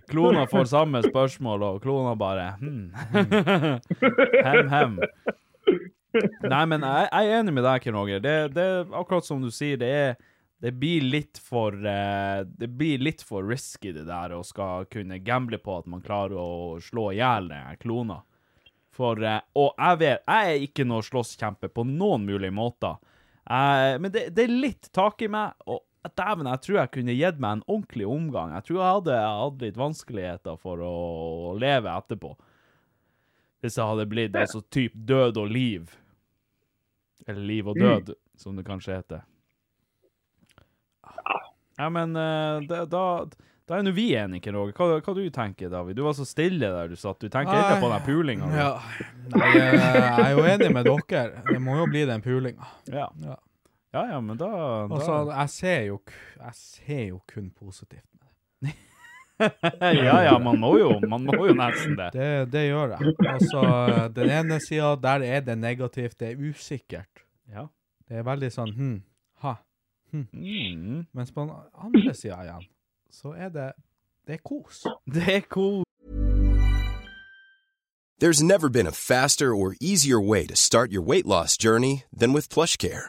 Klona får samme spørsmål, og klona bare hmm. Hem, hem. Nei, men jeg, jeg er enig med deg, Ken Roger. Det, det er akkurat som du sier, det er det blir litt for eh, Det blir litt for risky, det der, å skal kunne gamble på at man klarer å slå i hjel eh, klona. For eh, Og jeg vet Jeg er ikke noe slåsskjempe på noen mulige måter. Eh, men det, det er litt tak i meg, og dæven, jeg tror jeg kunne gitt meg en ordentlig omgang. Jeg tror jeg hadde hatt litt vanskeligheter for å, leve etterpå. Hvis jeg hadde blitt altså typ død og liv. Eller liv og død, som det kanskje heter. Ja, men eh, det, da da er nå vi enige, Roger. Hva, hva du tenker David? Du var så stille der du satt. Du tenker ikke på den pulinga. altså? Ja. Nei, jeg jeg er jo enig med dere. Det må jo bli den pulinga. Ja. Ja. ja, ja, men da, da Altså, jeg ser jo, k- jeg ser jo kun positivt. Ja, ja, man må jo, man må jo nesten det. Det, det gjør jeg. Altså, den ene sida, der er det negativt, det er usikkert. Ja. Det er veldig sånn hm, ha. Mm. Mens på den andre sida igjen, så er det det er kos. Det er cool. There's never been a faster or easier way to start your weight loss journey than with PlushCare.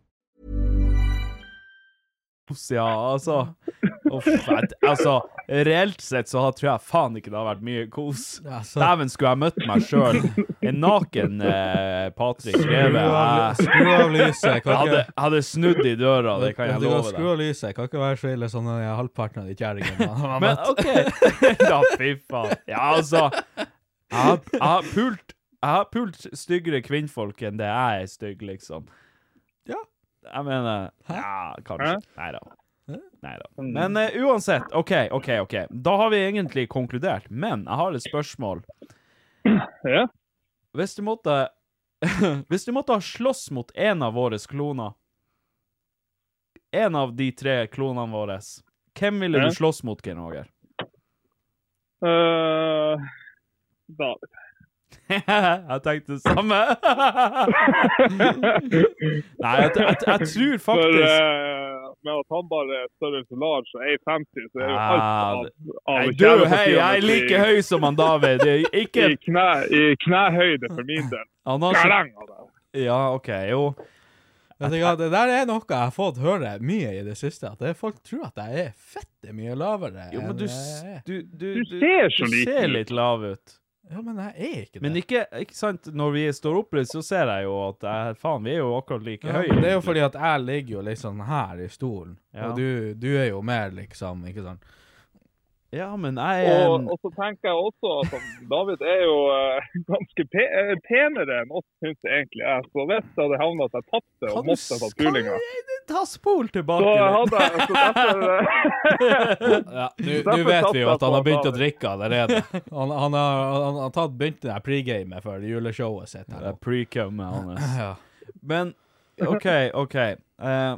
Ups, ja, altså. Uff, jeg- altså, reelt sett så har- tror jeg faen ikke det har vært mye kos. Altså. Dæven, skulle jeg møtt meg sjøl. En naken eh, Patrick Greve. Skru av, Jeg, skru av lyset. jeg Kan hadde, ikke, jeg hadde snudd i døra, det kan jeg Du love Skru deg. av lyset. Kan ikke være så ille som den halvparten av de kjerringene. Men OK. Da, fy faen. Ja, altså. Jeg har- jeg har pult Jeg har pult styggere kvinnfolk enn det jeg er stygg, liksom. Ja. Jeg mener Ja, kanskje. Hæ? Mm. Nei da. Nei da. Men eh, uansett, OK, OK, OK. Da har vi egentlig konkludert, men jeg har et spørsmål. Ja. Hvis du måtte Hvis du måtte ha slåss mot en av våre kloner En av de tre klonene våre, hvem ville Ja. du slåss mot, Geir Roger? Eh, David. jeg tenkte det samme. Nei, jeg, jeg, jeg tror For faktisk eh, med at han bare er størrelse large og 1,50, så er jo alt Ah, av, av Nei, du, hei, jeg er like i, høy som han David. Ikke i, knæ, i knæhøyde for min del. Altså, Han har så Galang av deg. Ja, OK, jo. Vet du hva, Det der er noe jeg har fått høre mye i det siste. At det, folk tror at jeg er fette mye lavere. Jo, men enn du, jeg s- er. du, du, Du ser så du liten ser ut. litt lav ut. Ja, men jeg er ikke det. Men ikke, ikke sant, når vi står oppreist, så ser jeg jo at eh, faen, vi er jo akkurat like Ja, høye. men det er jo egentlig. fordi at jeg ligger jo litt sånn her i stolen, Ja. og du, du er jo mer liksom Ikke sant? Ja, men jeg er Og, en- og så tenker jeg også at han- David er jo eh, ganske pe eh, penere enn oss, syns jeg egentlig jeg. Så hvis det hadde havnet at jeg tapte Kan og du måtte ha s- tatt pulinga, kan- Ta spol så tilbake. litt. hadde jeg så derfor, eh, Ja, Nå Derfor vet satt vi jo jeg at han har på begynt å David. drikke allerede. Han, han har, han har tatt begynt det der pregamet for juleshowet sitt. Det Her. er pre-cum hans. Ja. Men OK, OK. Eh,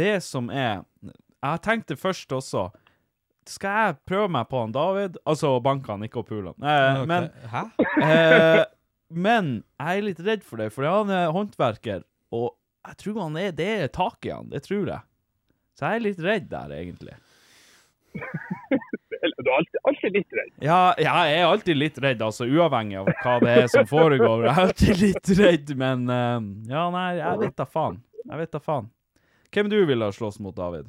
det som er Jeg tenkte først også Skal jeg prøve meg på han David? Altså banke han, ikke opp hulene. Eh, Ok. Men Hæ? Eh, men jeg er litt redd for det, for han er håndverker, og jeg tror han er, det er tak i han, det tror jeg. Så jeg er litt redd der, egentlig. Du er alltid, alltid litt redd. Ja, ja, jeg er alltid litt redd, altså, uavhengig av hva det er som foregår. Jeg er alltid litt redd, men eh, Ja, nei, jeg vet da faen. Jeg vet da faen. Hvem du ville ha slåss mot, David?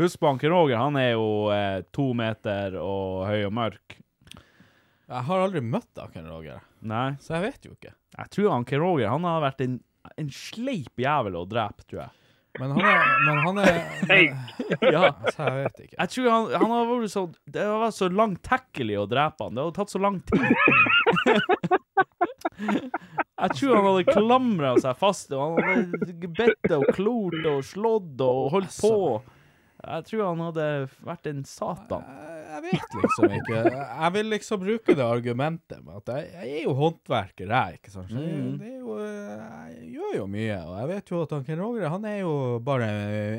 Husk på han Ken Roger, han er jo eh, to meter og høy og mørk. Jeg har aldri møtt Aken Roger, Nei, så jeg vet jo ikke. jeg tror han Ken Roger, han har vært en, en sleip jævel å drepe, tror jeg. Men han er Men han er men, Ja. Så jeg vet ikke. Jeg tror han, han har vært så Det har vært så langtekkelig å drepe han. Det hadde tatt så lang tid. Jeg tror han hadde klamra seg fast, og han hadde bitt og klort og slått og holdt på. Jeg tror han hadde vært en satan. Jeg jeg vet liksom ikke. Jeg vil liksom bruke det argumentet med at jeg, jeg er jo håndverker, jeg, ikke sant. Så jeg, det er jo, jeg gjør jo mye, og jeg vet jo at han Ken Roger han er jo bare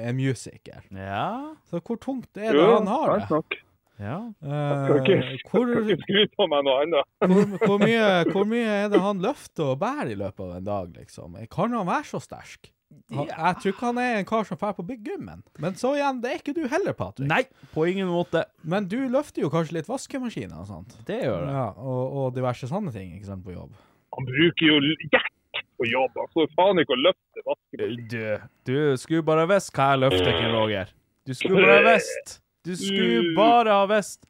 en musiker. Ja, Så hvor tungt er det han har sant det? nok. ja. Eh, Skal ikke- hvor, Skal ikke skryte på meg noe annet. hvor, hvor, mye, hvor mye er det han løfter og bærer i løpet av en dag, liksom? Kan han være så sterk? Han, jeg tror ikke han er en kar som drar på big gymmen. Men så igjen, det er ikke du heller, Patrick. Nei, på ingen måte. Men du løfter jo kanskje litt vaskemaskiner og sånt? Det gjør jeg. Ja, og, og diverse sånne ting, ikke sant, på jobb. Han bruker jo jekk på jobb. Han står faen ikke og løfter vaskemaskinen. Du, du skulle bare visst hva jeg løfter, Ken Roger. Du skulle bare ha visst. Du skulle bare ha visst.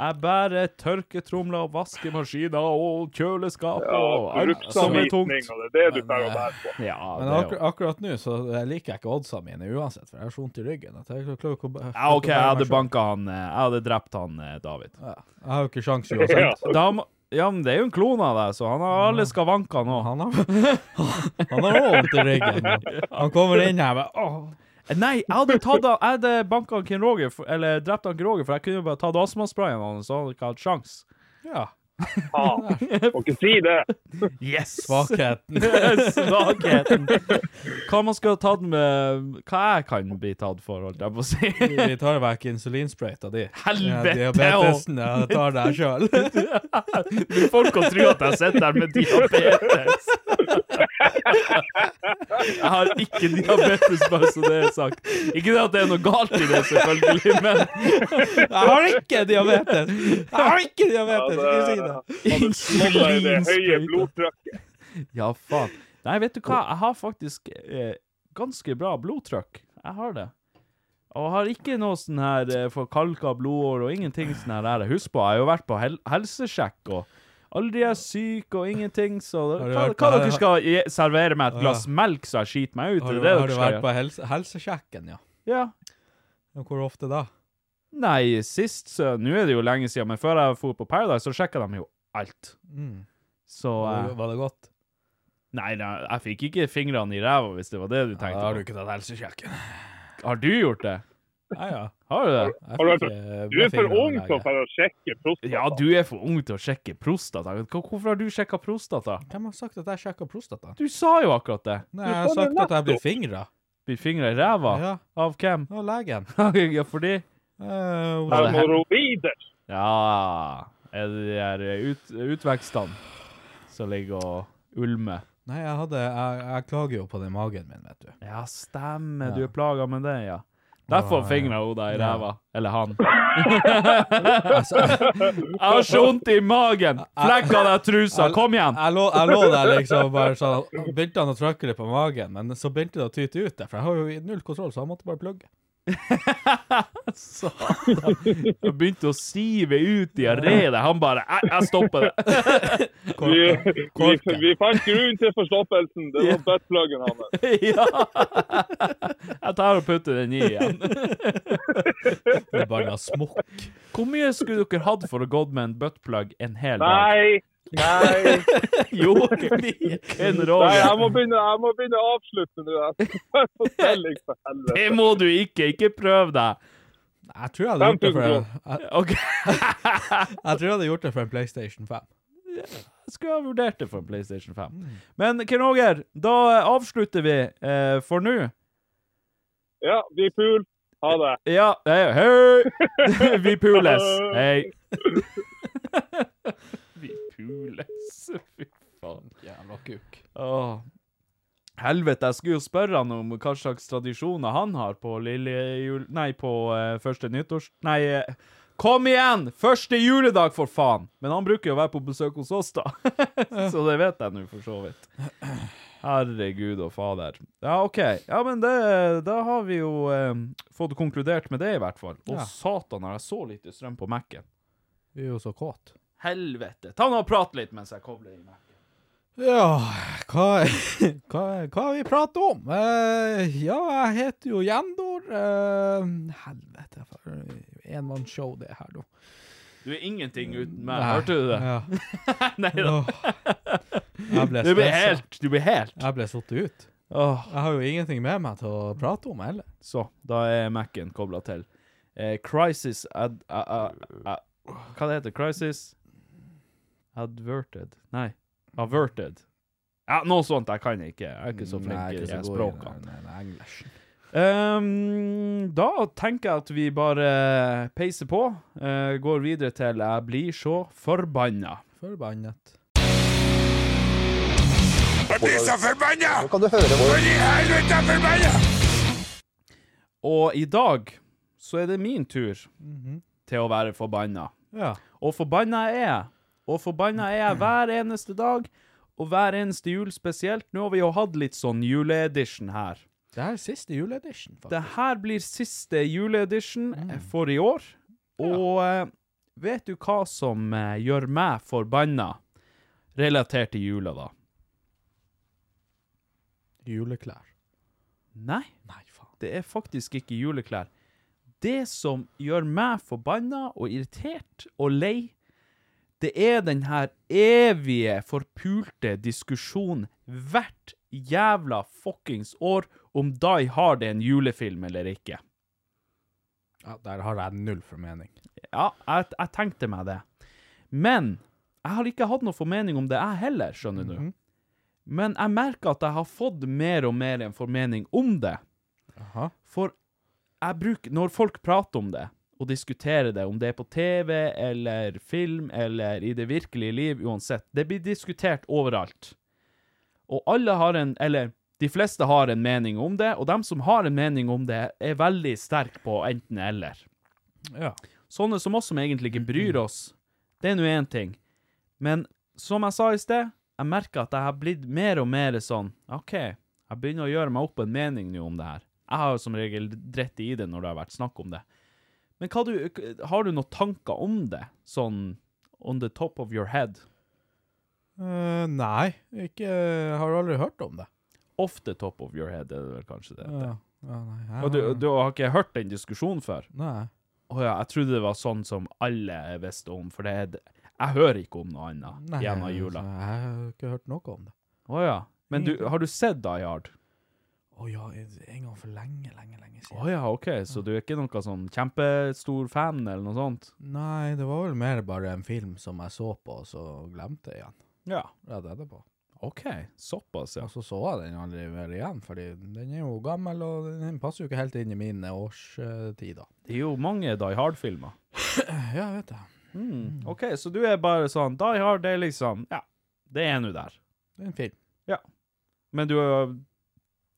Jeg bærer tørketromler og vaskemaskiner og kjøleskap og alt som er tungt. eh, Bruksanvisning og det er det du tar og bærer på. Ja, Men det er akkur jo akkurat nå så liker jeg ikke oddsa mine uansett, for jeg har så vondt i ryggen. At jeg, klarer ikke å bæ- ja, OK, klarer ikke å jeg bære hadde meg selv. banka han eh, Jeg hadde drept han eh, David. Ja, Jeg har jo ikke sjans Ja. uansett. Da, må- ja, men det er jo en klone av deg, så han har alle skavanker nå. Han har Han har også vondt i ryggen. Han kommer inn her med Åh! Eh, Nei, jeg hadde tatt han Jeg hadde banka han Ken Roger, for, eller drept han Ken Roger, for jeg kunne jo bare tatt astmasprayen hans, så han hadde ikke hatt sjans. Ja. Faen, må ikke si det. Yes! Svakheten. Svakheten. Hva man skulle ha tatt med Hva jeg kan bli tatt for, holdt jeg på å si. Vi tar vekk insulinsprøyta di. Helvete, Ja, diabetesen, ja, jeg tar deg sjøl. Du folk kan tro at jeg sitter her med diabetes. Jeg har ikke diabetes, bare så det er sagt. Ikke det at det er noe galt i det, selvfølgelig, men Jeg har ikke diabetes! Jeg har ikke diabetes! Ikke si Måtte være det. det høye insulinsprøyta blodtrykket. Ja, faen. Nei, vet du hva? Jeg har faktisk eh, ganske bra blodtrykk. Jeg har det. Og jeg har ikke noe sånn her eh, forkalka blodår og ingenting sånn her. der. Husk på, jeg har jo vært på hel helsesjekk og aldri er syk og ingenting, så Har du hva, vært på- hva dere skal gi, servere meg et glass Ja. melk så jeg skiter meg ut? Har Er du, det det har du dere skal vært gjøre? på helse, helsesjekken, ja? Ja. Og Hvor ofte da? Nei, sist så Nå er det jo lenge siden, men før jeg dro på Paradise, så sjekka de jo alt. Mm. Så Var, eh, det- var det godt? Nei, nei, jeg fikk ikke fingrene i ræva, hvis det var det du Ja, tenkte da har du på. ikke tatt helsesjekken. Har du gjort det? Ja, ja. Har du det? Har Jeg du fikk, vært- sånn, eh, Du er for fingrene ung i til å været. for å sjekke prostata. Ja, du er for ung til å sjekke prostata. Hva- Hvorfor har du sjekka prostata? Hvem har sagt at jeg sjekka prostata? Du sa jo akkurat det. Nei, jeg har sagt at jeg blir fingra. Blir fingra i ræva? Ja. Av hvem? Av legen. ja, fordi Eh, Det er Ole- Hemoroider. Ja Er det de her ut, utvekstene som ligger og ulmer? Nei, jeg, hadde, jeg, jeg klager jo på den magen min, vet du. Ja, stemmer. Du er plaga med det, ja. Derfor fingra hun deg i ræva. Eller han. Jeg har så vondt i magen! Flekk av deg trusa! Kom igjen! Jeg lå, jeg lå der liksom bare sånn Begynte han å trykke litt på magen, men så begynte det å tyte ut der, for jeg har jo null kontroll, så jeg måtte bare plugge. Satan. Jeg begynte å sive ut diaré der. Han bare Jeg, jeg stopper det. Vi, vi, vi fant grunnen til forstoppelsen. Det var buttpluggen hans. Ja. Jeg tar og putter den i igjen. Det er bare en smokk. Hvor mye skulle dere hatt for å gått med en buttplug en hel dag? Nei! Nei, Jo, en nei jeg, må rolle. begynne, jeg må begynne å avslutte nå. Jeg skal få telling, for helvete. Det må du ikke! Ikke prøv deg. Jeg tror jeg hadde gjort det for en, 5000 jeg, OK. jeg tror jeg hadde gjort det for en PlayStation 5. Jeg skulle ha vurdert det for en PlayStation 5. Men Ken Åger, da avslutter vi eh, for nå. Ja, vi er pool. Ha det. Ja, hei, hei! Vi pules. Hei. Vi pules. Fy faen. Jævla kuk. Åh. Helvete, jeg skulle jo spørre han om hva slags tradisjoner han har på lille jul... Nei, på eh, første nyttårs... Nei, eh, kom igjen! Første juledag, for faen! Men han bruker jo å være på besøk hos oss, da. så det vet jeg nå, for så vidt. Herregud og fader. Ja, OK. Ja, men det, da har vi jo eh, fått konkludert med det, i hvert fall. Å, Ja. satan, har jeg så lite strøm på Mac-en. Vi er jo så kåt. Helvete. Ta nå og prat litt mens jeg kobler i Mac-en. Ja, hva, hva, hva vi prater om? Eh, ja, jeg heter jo Jendor. Eh, helvete, for enmannsshow det her, da. Du er ingenting uten meg, Nei, hørte du det? Ja. Nei da. Åh. Jeg ble Du blir stresset. helt, du blir helt. Jeg ble satt ut. Åh, Jeg har jo ingenting med meg til å prate om heller. så, da er Mac-en koblet til. Eh, crisis ad... a- a- a- hva det heter? Crisis? Adverted? Nei, averted. Ja, noe sånt, jeg kan ikke. Jeg er ikke så flink i eh, språkene. Ehm, da tenker jeg at vi bare peiser på. eh, går videre til jeg blir så forbanna. Forbannet. Og i dag så er det min tur til å være forbanna. Ja. Og forbanna er jeg. Og forbanna er jeg hver eneste dag, og hver eneste jul spesielt. Nå har vi jo hatt litt sånn juleedition her. Det her er siste juleedition, faktisk. Det her blir siste juleedition eh, for i år. Og eh, vet du hva som eh, gjør meg forbanna relatert til jula, da? Juleklær. Nei. Nei, faen. Det er faktisk ikke juleklær. Det som gjør meg forbanna og irritert og lei, det er den her evige, forpulte diskusjonen hvert jævla fuckings år om Die Hard er en julefilm eller ikke. Ja, der har jeg null formening. Ja, jeg, jeg tenkte meg det. Men jeg har ikke hatt noe formening om det, jeg heller, skjønner du. Men jeg merker at jeg har fått mer og mer en formening om det. Aha. For jeg bruker, når folk prater om det, og diskuterer det, om det er på TV eller film eller i det virkelige liv, uansett, det blir diskutert overalt. Og alle har en, eller de fleste har en mening om det, og dem som har en mening om det, er veldig sterk på enten eller. Ja. Sånne som oss som egentlig ikke bryr oss, det er nå én ting. Men som jeg sa i sted, jeg merker at jeg har blitt mer og mer sånn OK, jeg begynner å gjøre meg opp en mening nå om det her. Jeg har jo som regel dritt i det når det har vært snakk om det. Men hva du, har du noen tanker om det, sånn on the top of your head? Eh, nei, ikke Jeg har aldri hørt om det. Off the top of your head, er det vel kanskje det. Ja, ja, nei, jeg, Og du, du har ikke hørt den diskusjonen før? Nei. Å ja, jeg trodde det var sånn som alle visste om, for det er Jeg hører ikke om noe annet nei altså. gjennom jula. så Jeg har ikke hørt noe om det. Å ja. Men du, har du sett Die Hard? Å ja, en gang for lenge, lenge, lenge Å siden. ja, OK. Så du er ikke noen sånn kjempestor fan, eller noe sånt? Nei, det var vel mer bare en film som jeg så på, og så glemte jeg igjen. Ja. Ja, det er det på. OK. Såpass, ja. Og så så jeg den aldri mer igjen, fordi den er jo gammel, og den passer jo ikke helt inn i mine årstider. Det er jo mange Die Hard-filmer. Ja, vet jeg. Mm. OK, så du er bare sånn Die Hard, det er liksom Ja, det er nå der. Det er en film. Men du har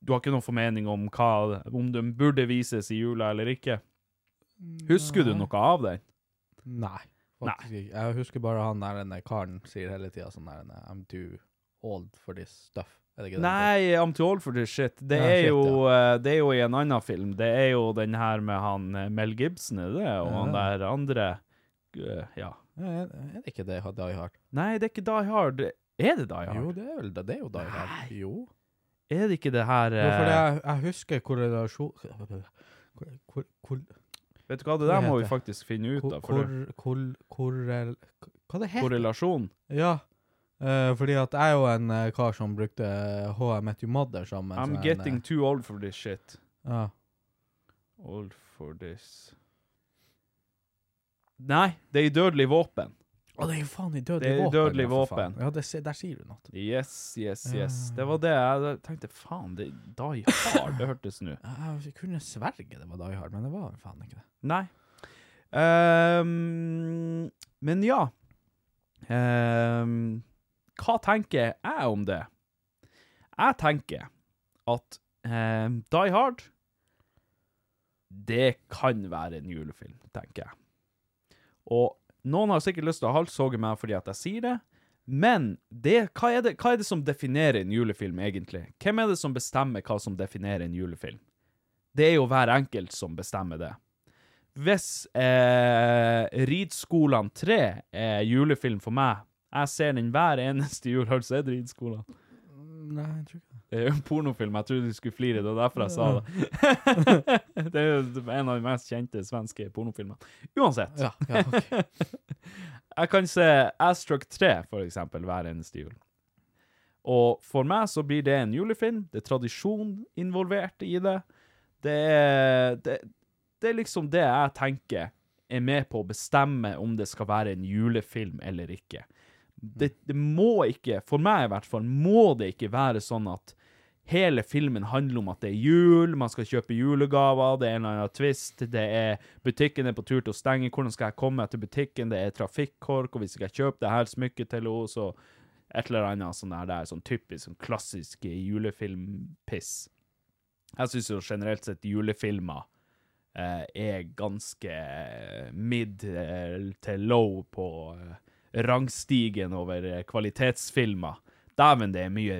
du har ikke noen formening om hva, om den burde vises i jula eller ikke. Husker du Nei. noe av den? Nei. Faktisk ikke. Jeg husker bare han der denne karen sier hele tida sånn der denne, I'm too old for this stuff. Er det ikke det? Nei, I'm too old for this shit. Det, Ja, er, shit, jo, eh, det er jo i en annen film. Det er jo den her med han eh, Mel Gibson, er det? Og han Ja. der andre eh, Ja. Er er det ikke det Die Hard? Nei, det er ikke Die Hard. Er det Die Hard? Jo, det er vel det. Det er jo Die Hard. Jo. Er det ikke det her jo for eh, jeg, jeg husker korrelasjon... Kor, kor, kor, Vet du hva, det Hva der må vi heter det? faktisk finne ut kor, av. For kor, det- kor, korrel... Hva det heter? korrelasjon. Ja. eh, fordi at jeg er jo en eh, kar som brukte HM Met Your Mother sammen. I'm getting too old for this shit. eh, Ja. Old for this Nei, det er i Dødelig våpen. Å, det er jo faen i Det dødelig er i våpen. Dødelig ja, for faen. våpen. Ja, det, se- der sier du noe. Yes, yes, Ja. yes. Det var det jeg tenkte. Faen, det Die Hard, det hørtes nå. Jeg jeg kunne sverge det var Die Hard, men det var faen ikke det. Nei. Ehm, men ja Ehm, Hva tenker jeg om det? Jeg tenker at ehm, Die Hard Det kan være en julefilm, tenker jeg. Og noen har sikkert lyst til å halshogge meg fordi at jeg sier det, men det, hva, er det, hva er det som definerer en julefilm, egentlig? Hvem er det som bestemmer hva som definerer en julefilm? Det er jo hver enkelt som bestemmer det. Hvis eh, Ridskolan 3 er julefilm for meg Jeg ser den hver eneste jul, har du sett Ridskolan? Nei, jeg tror ikke det. Det er jo en pornofilm, jeg trodde du skulle flire, det var derfor jeg sa det. det er jo en av de mest kjente svenske pornofilmene. Uansett. Ja, ja, ok. jeg kan se Astruck 3, for eksempel, hver eneste jul. Og for meg så blir det en julefilm. Det er tradisjon involvert i det. Det er, det, det er liksom det jeg tenker er med på å bestemme om det skal være en julefilm eller ikke. Det, det må ikke, for meg i hvert fall, må det ikke være sånn at hele filmen handler om at det er jul, man skal kjøpe julegaver, det er en eller annen twist, det er butikken er på tur til å stenge, hvordan skal jeg komme meg til butikken, det er trafikkork, og hvis ikke jeg kjøper det her smykket til henne, så et eller annet sånn der, det er sånn typisk, sånn klassisk julefilmpiss. Jeg syns jo generelt sett julefilmer eh, er ganske mid eh, til low på eh, rangstigen over eh, kvalitetsfilmer. Dæven, det er mye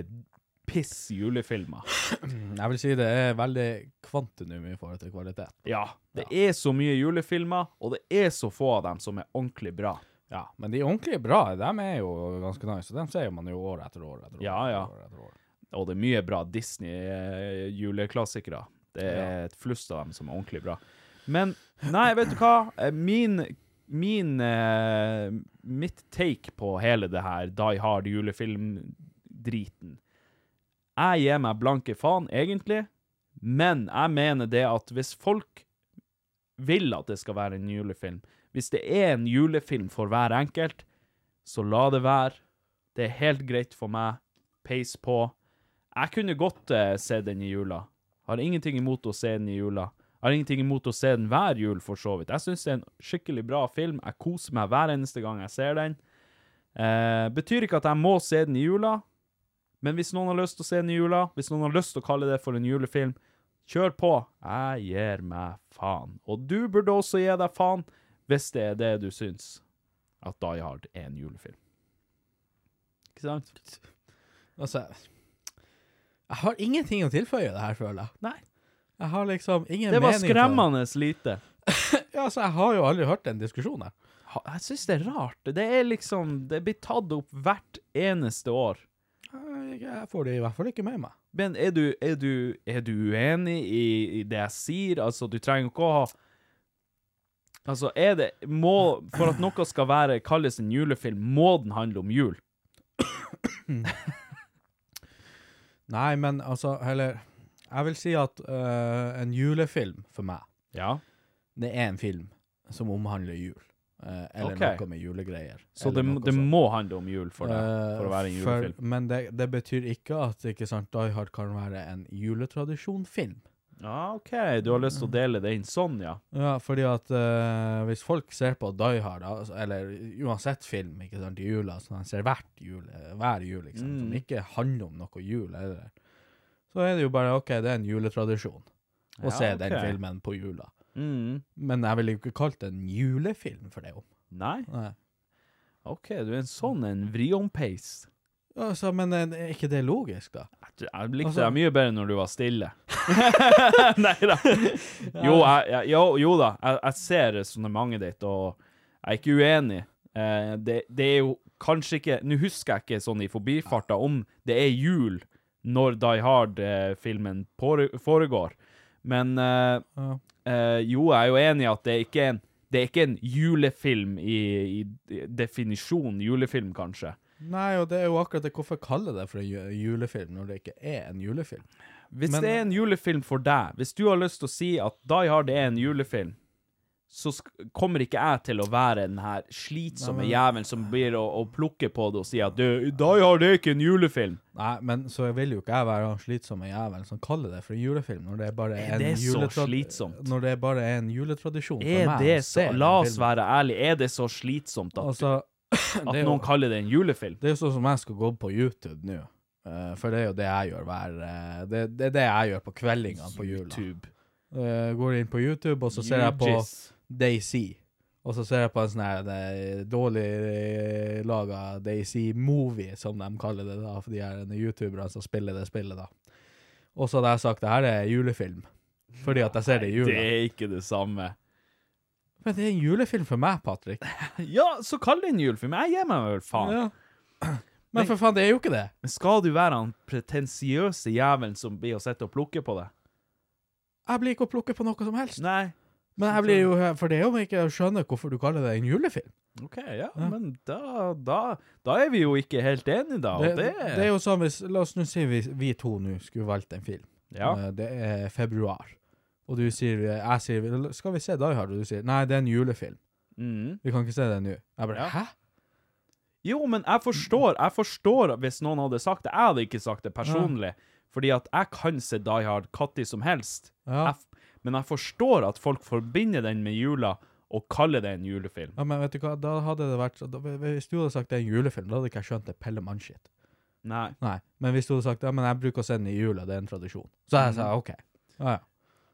piss i julefilmer. Mm, Jeg vil si det er veldig kvantinum i forhold til kvalitet. Ja, det er så mye julefilmer, og det er så få av dem som er ordentlig bra. Ja, men de ordentlige bra, dem er jo ganske nice, og dem ser man jo år etter år etter år. Ja, etter ja. År etter år. Og det er mye bra Disney-juleklassikere. Det er et flust av dem som er ordentlig bra. Men nei, vet du hva? Eh, Min, min eh, Mitt take på hele det her Die Hard julefilm-driten Jeg gir meg blanke faen, egentlig, men jeg mener det at hvis folk vil at det skal være en julefilm Hvis det er en julefilm for hver enkelt, så la det være. Det er helt greit for meg. Peis på. Jeg kunne godt eh, se den i jula. Har ingenting imot å se den i jula. Har ingenting imot å se den hver jul, for så vidt. Jeg syns det er en skikkelig bra film. Jeg koser meg hver eneste gang jeg ser den. Eh, betyr ikke at jeg må se den i jula, men hvis noen har lyst til å se den i jula, hvis noen har lyst til å kalle det for en julefilm, kjør på. Jeg gir meg faen. Og du burde også gi deg faen, hvis det er det du syns at Die Hard er en julefilm. Ikke sant? Altså, jeg har ingenting å tilføye det her, føler jeg. Nei. Jeg har liksom ingen Det mening var på skremmende lite. Ja, altså, jeg har jo aldri hørt den diskusjonen her. Ha- Jeg syns det er rart. Det er liksom Det blir tatt opp hvert eneste år. Jeg- Jeg får det i hvert fall ikke med meg. Men er du, er du, er du uenig i, i det jeg sier? Altså, du trenger ikke å ha Altså, er det Må For at noe skal være kalles en julefilm, må den handle om jul? Nei, men altså, heller Jeg vil si at øh, en julefilm for meg, Ja. det er en film som omhandler jul. eh, eller Ok. noe med julegreier. Så eller det, noe det sånt. må handle om jul for deg, Eh, for å være en for- julefilm? men det, det betyr ikke at ikke sant, Die Hard kan være en juletradisjonfilm. Ja, OK. Du har lyst til å dele det inn sånn, ja? Ja, fordi at eh, hvis folk ser på Die Hard, altså, eller uansett film ikke sant, i Mm. jula, som de ser hvert jul, eh, hver jul, liksom, som ikke handler om noe jul, eller, så er det jo bare OK, det er en juletradisjon å Ja, se den ok. filmen på jula. Mm. Men jeg ville jo ikke kalt det en julefilm for det om. Nei? Nei. OK, du er en sånn en vriompeis. Altså, men eh, er ikke det logisk, da? Jeg likte Altså- deg mye bedre når du var stille. Nei da. Jo, jeg, jeg, jo, jo da, jeg, jeg ser resonnementet ditt, og jeg er ikke uenig. Eh, det, det er jo kanskje ikke Nå husker jeg ikke sånn i forbifarta om det er jul når Die Hard-filmen foregår, men eh, Ja. eh, jo, jeg er jo enig i at det er ikke en det er ikke en julefilm i, i definisjon julefilm, kanskje. Nei, og det er jo akkurat det. Hvorfor kalle det for en ju- julefilm når det ikke er en julefilm? Hvis Men- eh, det er en julefilm for deg, hvis du har lyst til å si at Die Hard er en julefilm, så sk kommer ikke jeg til å være den her slitsomme Nei, men- jævelen som blir å, å plukke på det og si at du, Die Hard er ikke en julefilm. Nei, men så vil jo ikke jeg være han slitsomme jævelen som kaller det for en julefilm når det bare er, Er det en så juletrad- slitsomt? Når det bare er en juletradisjon for Er meg. det å se så, den la oss filmen. være ærlig, er det så slitsomt at, Altså, at det er jo- noen kaller det en julefilm? Det er jo sånn som jeg skal gå på YouTube nå. eh, for det er jo det jeg gjør hver eh, det, det er det jeg gjør på kveldingene på jula. YouTube. Eh, går inn på YouTube, og så ser jeg på Jujis. Daisy. Og så ser jeg på en sånn her eh, dårlig eh, laga Daisy-movie, som de kaller det da, for de her youtuberne som spiller det spillet, da. Og så hadde jeg sagt det her er julefilm, fordi at jeg ser det i Det jula. er ikke det samme. Men det er en julefilm for meg, Patrick. Ja, så kall det en julefilm. Jeg gir meg vel faen. Ja. Men for faen, det er jo ikke det. Men skal du være han pretensiøse jævelen som blir å sitte og plukke på det? Jeg blir ikke å plukke på noe som helst. Nei. Men jeg blir jo For det er jo ikke jeg skjønner hvorfor du kaller det en julefilm. OK, ja, men da, da Da er vi jo ikke helt enige, da. Det, og det, det er jo sånn hvis La oss nå si vi, vi to nå skulle valgt en film. Ja. Eh, Det er februar. Og du sier Jeg sier Skal vi se Die Hard? Og du sier Nei, det er en julefilm. Mm. Vi kan ikke se den nå. Jeg bare Ja. Hæ? Jo, men jeg forstår Jeg forstår hvis noen hadde sagt det. Jeg hadde ikke sagt det personlig. Fordi at jeg kan se Die Hard når som helst. Ja. Jeg f- men jeg forstår at folk forbinder den med jula og kaller det en julefilm. Ja, men vet du hva, da hadde det vært da, Hvis du hadde sagt det er en julefilm, da hadde ikke jeg skjønt det Pelle Mann-shit. Nei. Nei. Men hvis du hadde sagt ja, men jeg bruker å se den i jula, det er en tradisjon. Så jeg sa OK. Ja, ja.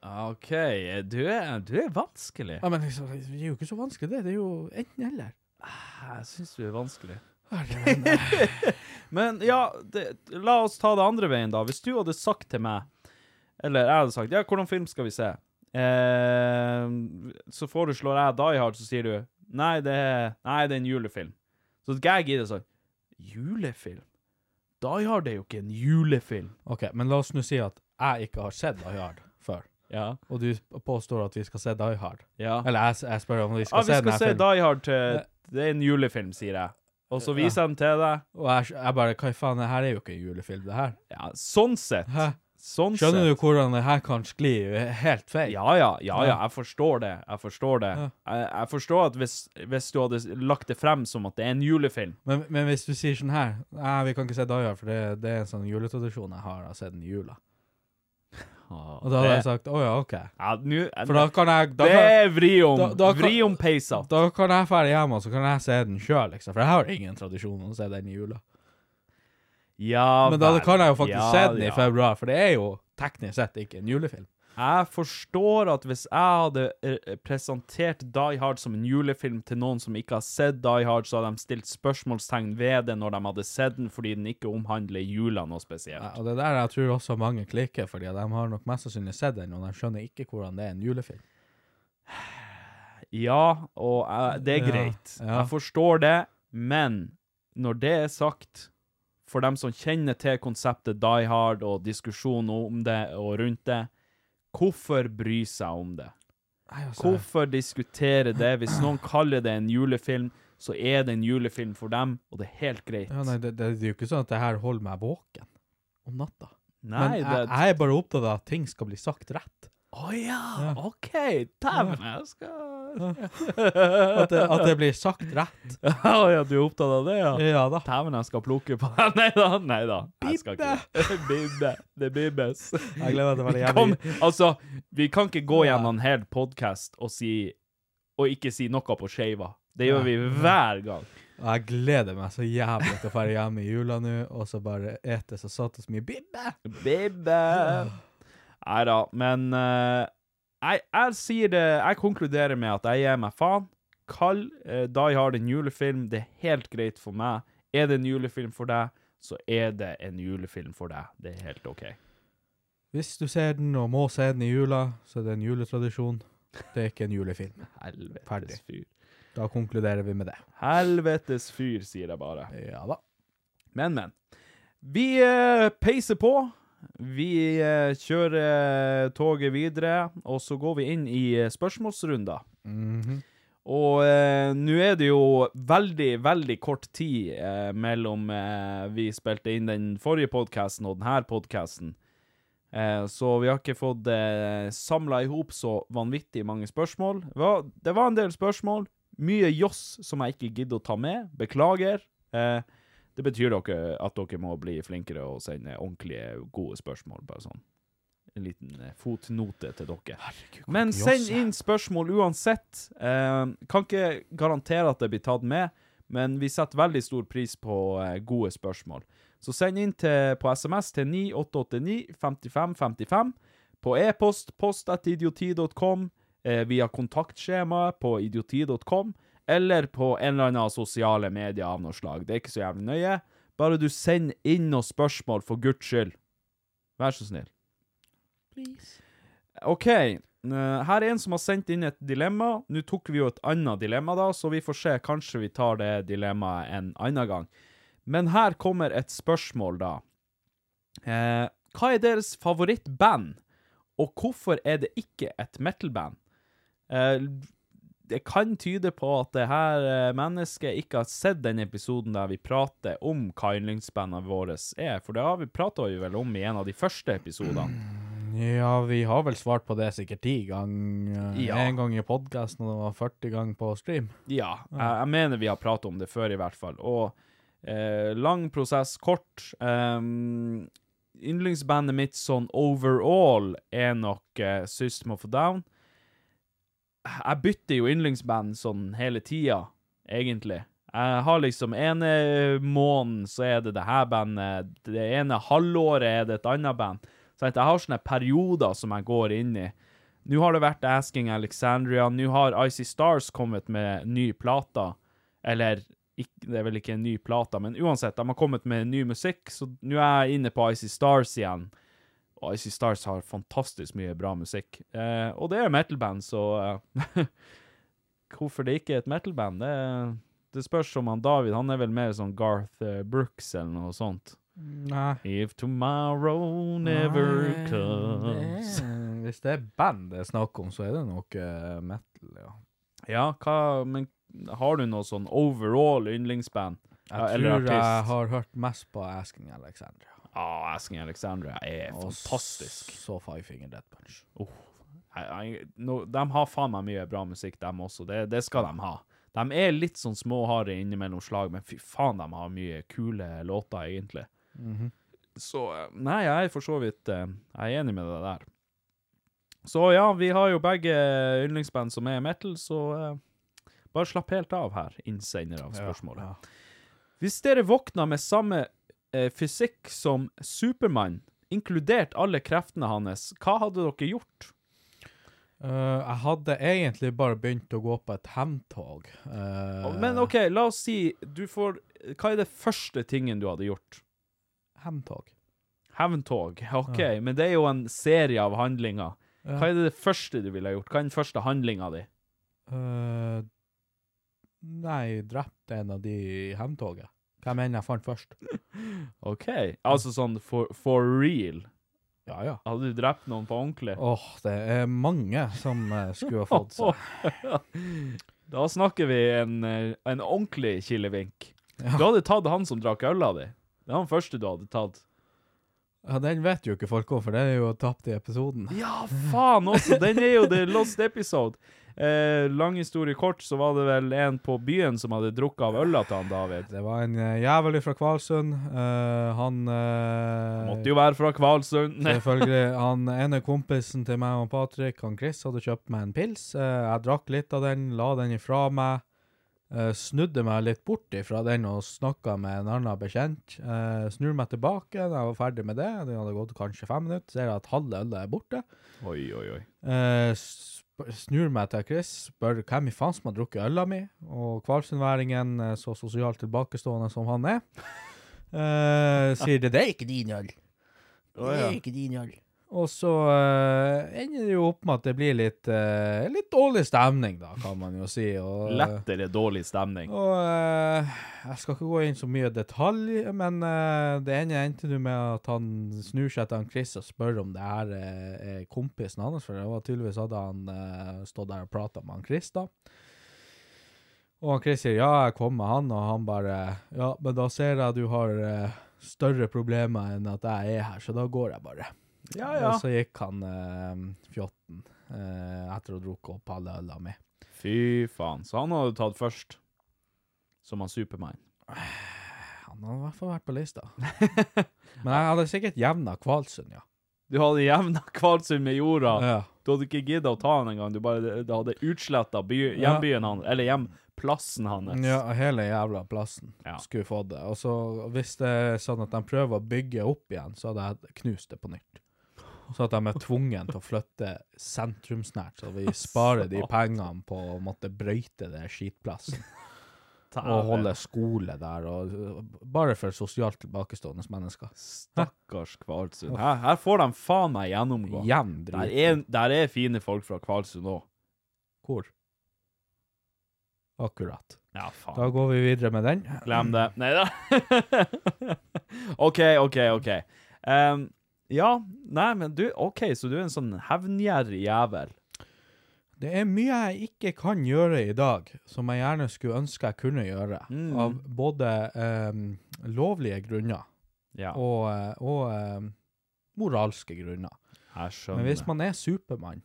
Ah, OK, du er, du er vanskelig. ja men liksom, det er jo ikke så vanskelig, det. Det er jo enten eller. Jeg syns du er vanskelig. Herre, Men ja, det, la oss ta det andre veien, da. Hvis du hadde sagt til meg, eller jeg hadde sagt Ja, hvordan film skal vi se? Eh, så foreslår jeg Die Hard, så sier du Nei, det er, nei, det er en julefilm. Så skal jeg gidde sånn Julefilm? Die Hard er jo ikke en julefilm. Ok, men la oss nå si at jeg ikke har sett Die Hard før, Ja. og du påstår at vi skal se Die Hard. ja. Eller jeg, jeg spør om vi skal ah, vi se skal denne se filmen, Die Hard til Det er en julefilm, sier jeg. Og så viser jeg den til deg. og jeg, jeg bare, hva faen, det her er jo ikke en julefilm, det her. Ja, sånn sett. Hæ? Sånn sett. Skjønner du hvordan det her kan skli helt feil? Ja, ja, ja, ja, jeg forstår det. Jeg forstår det. Ja. Jeg, jeg forstår at hvis, hvis du hadde lagt det frem som at det er en julefilm Men, men hvis du sier sånn her, nei, vi kan ikke se Die Hard, for det, det er en sånn juletradisjon jeg har, jeg har sett den i jula. Og da hadde jeg sagt, åja, ok. ja, nu, For da kan jeg, da Det kan, er vri om. da- da kan- vri om peisa. da kan jeg fære hjemme, og så kan jeg se den selv, liksom, for jeg har ingen tradisjon om å se den i jula. Ja, Men da vel. kan jeg jo faktisk Ja, se den i ja. februar, for det er jo teknisk sett ikke en julefilm. Jeg forstår at hvis jeg hadde eh, presentert Die Hard som en julefilm til noen som ikke har sett Die Hard, så hadde de stilt spørsmålstegn ved det når de hadde sett den, fordi den ikke omhandler jula noe Ja, spesielt. og det er der jeg tror også mange klikker, fordi de har nok mest sannsynlig sett den, og de skjønner ikke hvordan det er en julefilm. Ja, og jeg, det er Ja, greit. ja. Jeg forstår det, men når det er sagt, for dem som kjenner til konseptet Die Hard og diskusjonen om det og rundt det, hvorfor bry seg om det? Altså- Hvorfor diskutere det? Hvis noen kaller det en julefilm, så er det en julefilm for dem, og det er helt greit. Ja, nei, det, det, det er jo ikke sånn at det her holder meg våken om natta. Men Nei, jeg, det jeg er bare opptatt av at ting skal bli sagt rett. Å ja, OK! Dæven, jeg skal At det, at det blir sagt rett. Å ja, du er opptatt av det, ja? Ja da. Dæven, jeg skal plukke på deg. Nei da, nei da. Jeg skal ikke. Bibbe. Det bibbes. Jeg gleder meg til å være Kom, hjemme. altså, vi kan ikke gå gjennom en hel podkast og, si, og ikke si noe på skeiva. Det gjør vi hver gang. Og jeg gleder meg så jævlig til å dra hjem i jula nå, og så bare ete så satt og så mye bibbe! Bibbe! Nei da, men eh, jeg, jeg sier det Jeg konkluderer med at jeg gir meg faen. Kall eh, Die Hard en julefilm. Det er helt greit for meg. Er det en julefilm for deg, så er det en julefilm for deg. Det er helt OK. Hvis du ser den, og må se den i jula, så er det en juletradisjon. Det er ikke en julefilm. Helvetes fyr. Da konkluderer vi med det. Helvetes fyr, sier jeg bare. Ja da. Men, men. Vi eh, peiser på. Vi eh, kjører eh, toget videre, og så går vi inn i eh, spørsmålsrunder. Mhm. Og eh, nå er det jo veldig, veldig kort tid eh, mellom eh, vi spilte inn den forrige podkasten og denne podkasten. Eh, så vi har ikke fått eh, samla i hop så vanvittig mange spørsmål. Det var, det var en del spørsmål. Mye joss som jeg ikke gidder å ta med. Beklager. Eh, det betyr dere at dere må bli flinkere og sende ordentlige, gode spørsmål. Bare sånn. En liten eh, fotnote til dere. Men send inn spørsmål uansett. Eh, kan ikke garantere at det blir tatt med, men vi setter veldig stor pris på eh, gode spørsmål. Så send inn til, på SMS til 9889 5555, på e-post post at idioti.com, eh, via kontaktskjemaet på idioti.com, eller på en eller annen sosiale medier av noe slag. Det er ikke så jævlig nøye. Bare du sender inn noen spørsmål, for guds skyld. Vær så snill. OK. eh, Her er en som har sendt inn et dilemma. Nå tok vi jo et annet dilemma, da, så vi får se. Kanskje vi tar det dilemmaet en annen gang. Men her kommer et spørsmål, da. Eh, hva er deres favorittband, og hvorfor er det ikke et metalband? Eh, det kan tyde på at det her eh, mennesket ikke har sett den episoden der vi prater om hva yndlingsbandene våre er, for det har vi prata vel om i en av de første episodene. Ja, vi har vel svart på det sikkert ti ganger. Ja. Én gang i podkasten, og det var 40 ganger på stream. Ja, jeg, jeg mener vi har pratet om det før i hvert fall. Og eh, lang prosess, kort. Um, yndlingsbandet mitt sånn overall er nok eh, System of a Down. Jeg bytter jo yndlingsband sånn hele tida, egentlig. Jeg har liksom ene måneden så er det det her bandet, det ene halvåret er det et annet band. Så jeg har sånne perioder som jeg går inn i. Nå har det vært Asking Alexandria, nå har Icy Stars kommet med ny plata. Eller ikk- det er vel ikke en ny plata, men uansett, de har kommet med ny musikk, så nå er jeg inne på Icy Stars igjen. Og Icy Stars har fantastisk mye bra musikk. Eh, og det er metalband, så eh, Hvorfor det ikke er et metalband? Det, det spørs om han David Han er vel mer sånn Garth eh, Brooks eller noe sånt. Nei. If tomorrow never Nei, comes det- Hvis det er band det er snakk om, så er det nok eh, metal, ja. Ja, hva, men har du noe sånn overall yndlingsband? Jeg Ja, tror jeg har hørt mest på Asking Alexandria. Ja, Ah, Asking Alexandria er Og fantastisk. Så Five Finger Death Punch. Oh, jeg, jeg, no, de har faen meg mye bra musikk, dem også. Det, det skal de ha. De er litt sånn småharde innimellom slag, men fy faen, de har mye kule låter, egentlig. Mhm. Så eh, Nei, jeg er for så vidt eh, Jeg er enig med deg der. Så ja, vi har jo begge yndlingsband som er metal, så eh, bare slapp helt av her, innsender av spørsmålet. Ja, Hvis dere våkna med samme eh, fysikk som Supermann, inkludert alle kreftene hans, hva hadde dere gjort? ja. Eh, jeg hadde egentlig bare begynt å gå på et hevntog. Uh, Men OK, la oss si du får Hva er det første tingen du hadde gjort? Hevntog. Hevntog. OK, men det er jo en serie av handlinger. Ja. Hva er det første du ville ha gjort? Hva er den første handlinga di? Eh, nei, drepte en av de i hevntoget. Hvem enn jeg fant først. OK, altså sånn for, for real. Ja, ja. Hadde du drept noen på ordentlig? Åh, det er mange som eh, skulle ha fått seg. da snakker vi en, eh, en ordentlig kilevink. Du hadde tatt han som drakk øla di. Det var han første du hadde tatt. Ja, den vet jo ikke folk om, for det er jo tapt i episoden. Ja, faen også! Den er jo the lost episode. Eh, lang historie kort, så var det vel en på byen som hadde drukket av øla til han David. Det var en eh, jævel fra Kvalsund. eh, han eh, Måtte jo være fra Kvalsund. Selvfølgelig. Han ene kompisen til meg og Patrick, han Chris, hadde kjøpt meg en pils. Eh, jeg drakk litt av den, la den ifra meg. eh, snudde meg litt bort ifra den og snakka med en annen bekjent. Eh, snur meg tilbake når jeg var ferdig med det, det hadde gått kanskje fem minutter, ser jeg at halve ølet er borte. Oi, oi, oi. Eh, sp- snur meg til Chris, spør hvem i faen som har drukket øla mi, og kvalsundværingen, eh, så sosialt tilbakestående som han er, eh, sier det, det er ikke din øl. Å, ja. ikke din øl. Og så eh, ender det jo opp med at det blir litt, eh, litt dårlig stemning, da, kan man jo si. Og, Lett eller dårlig stemning? og eh, jeg skal ikke gå inn så mye detalj, men eh, det ene endte nå med at han snur seg til han Chris og spør om det her eh, er kompisen hans, for det var tydeligvis hadde han eh, stått der og prata med han Chris, da. Og han Chris sier ja, jeg kom med han, og han bare ja, men da ser jeg du har eh, større problemer enn at jeg er her, så da går jeg bare. Ja, ja. Og så gikk han eh, fjotten eh, etter å ha drukket opp alle øla mi. Fy faen. Så han hadde tatt først. Som han Supermann. Han hadde i hvert fall vært på lista. Men jeg hadde sikkert jevna Kvalsund, ja. Du hadde jevna Kvalsund med jorda. Ja. Du hadde ikke gidda å ta han engang. Du bare du hadde utsletta by- Ja. hjembyen hans, eller hjemplassen hans. ja. Hele jævla plassen Ja. skulle få det. Og så hvis det er sånn at de prøver å bygge opp igjen, så hadde jeg knust det på nytt. Så at de er tvungen til å flytte sentrumsnært, så vi sparer de pengene på å måtte brøyte det skitplassen. Og holde skole der, og bare for sosialt tilbakestående mennesker. Stakkars Kvalsund. Her, her får de faen meg gjennomgå. Jevn Der drit. er, der er fine folk fra Kvalsund òg. Hvor? Akkurat. Ja, faen. Da går Mm. vi videre med den. Glem det. Nei da. OK, OK, OK. Ehm, ja, nei, men du OK, så du er en sånn hevngjerrig jævel. Det er mye jeg ikke kan gjøre i dag, som jeg gjerne skulle ønske jeg kunne gjøre, Mm. av både em, lovlige grunner Ja, og, eh, og em, moralske grunner. jeg Men hvis skjønner. man er Supermann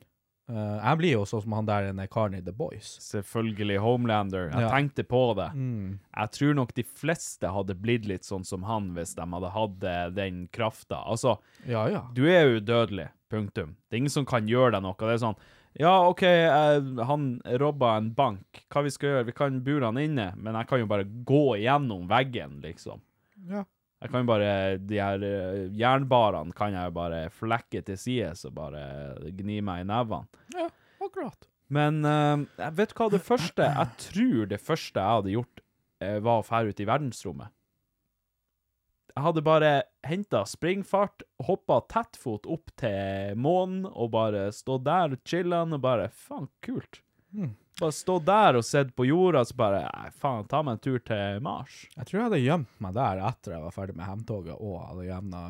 eh, Jeg blir jo sånn som han der ene karen i The Boys. Selvfølgelig Homelander. Jeg Ja. tenkte på det. Mm. Jeg tror nok de fleste hadde blitt litt sånn som han hvis de hadde hatt eh, den krafta. Altså, Ja, ja. du er udødelig. Punktum. Det er ingen som kan gjøre deg noe. Det er sånn Ja, OK, eh, han robba en bank. Hva vi skal gjøre? Vi kan bure han inne, men jeg kan jo bare gå gjennom veggen, liksom. ja. Jeg kan jo bare De her eh, jernbarene kan jeg jo bare flekke til sides og bare gni meg i nevene. Ja, akkurat. Men eh, jeg vet du hva det første Jeg tror det første jeg hadde gjort, eh, var å fære ut i verdensrommet. Jeg hadde bare henta springfart, hoppa tettfot opp til månen og bare stått der og chillen og bare Faen, kult. Mm. Bare stå der og sett på jorda, så bare «Nei, Faen, ta meg en tur til Mars. Jeg tror jeg hadde gjemt meg der etter jeg var ferdig med hjemtoget og hadde jevna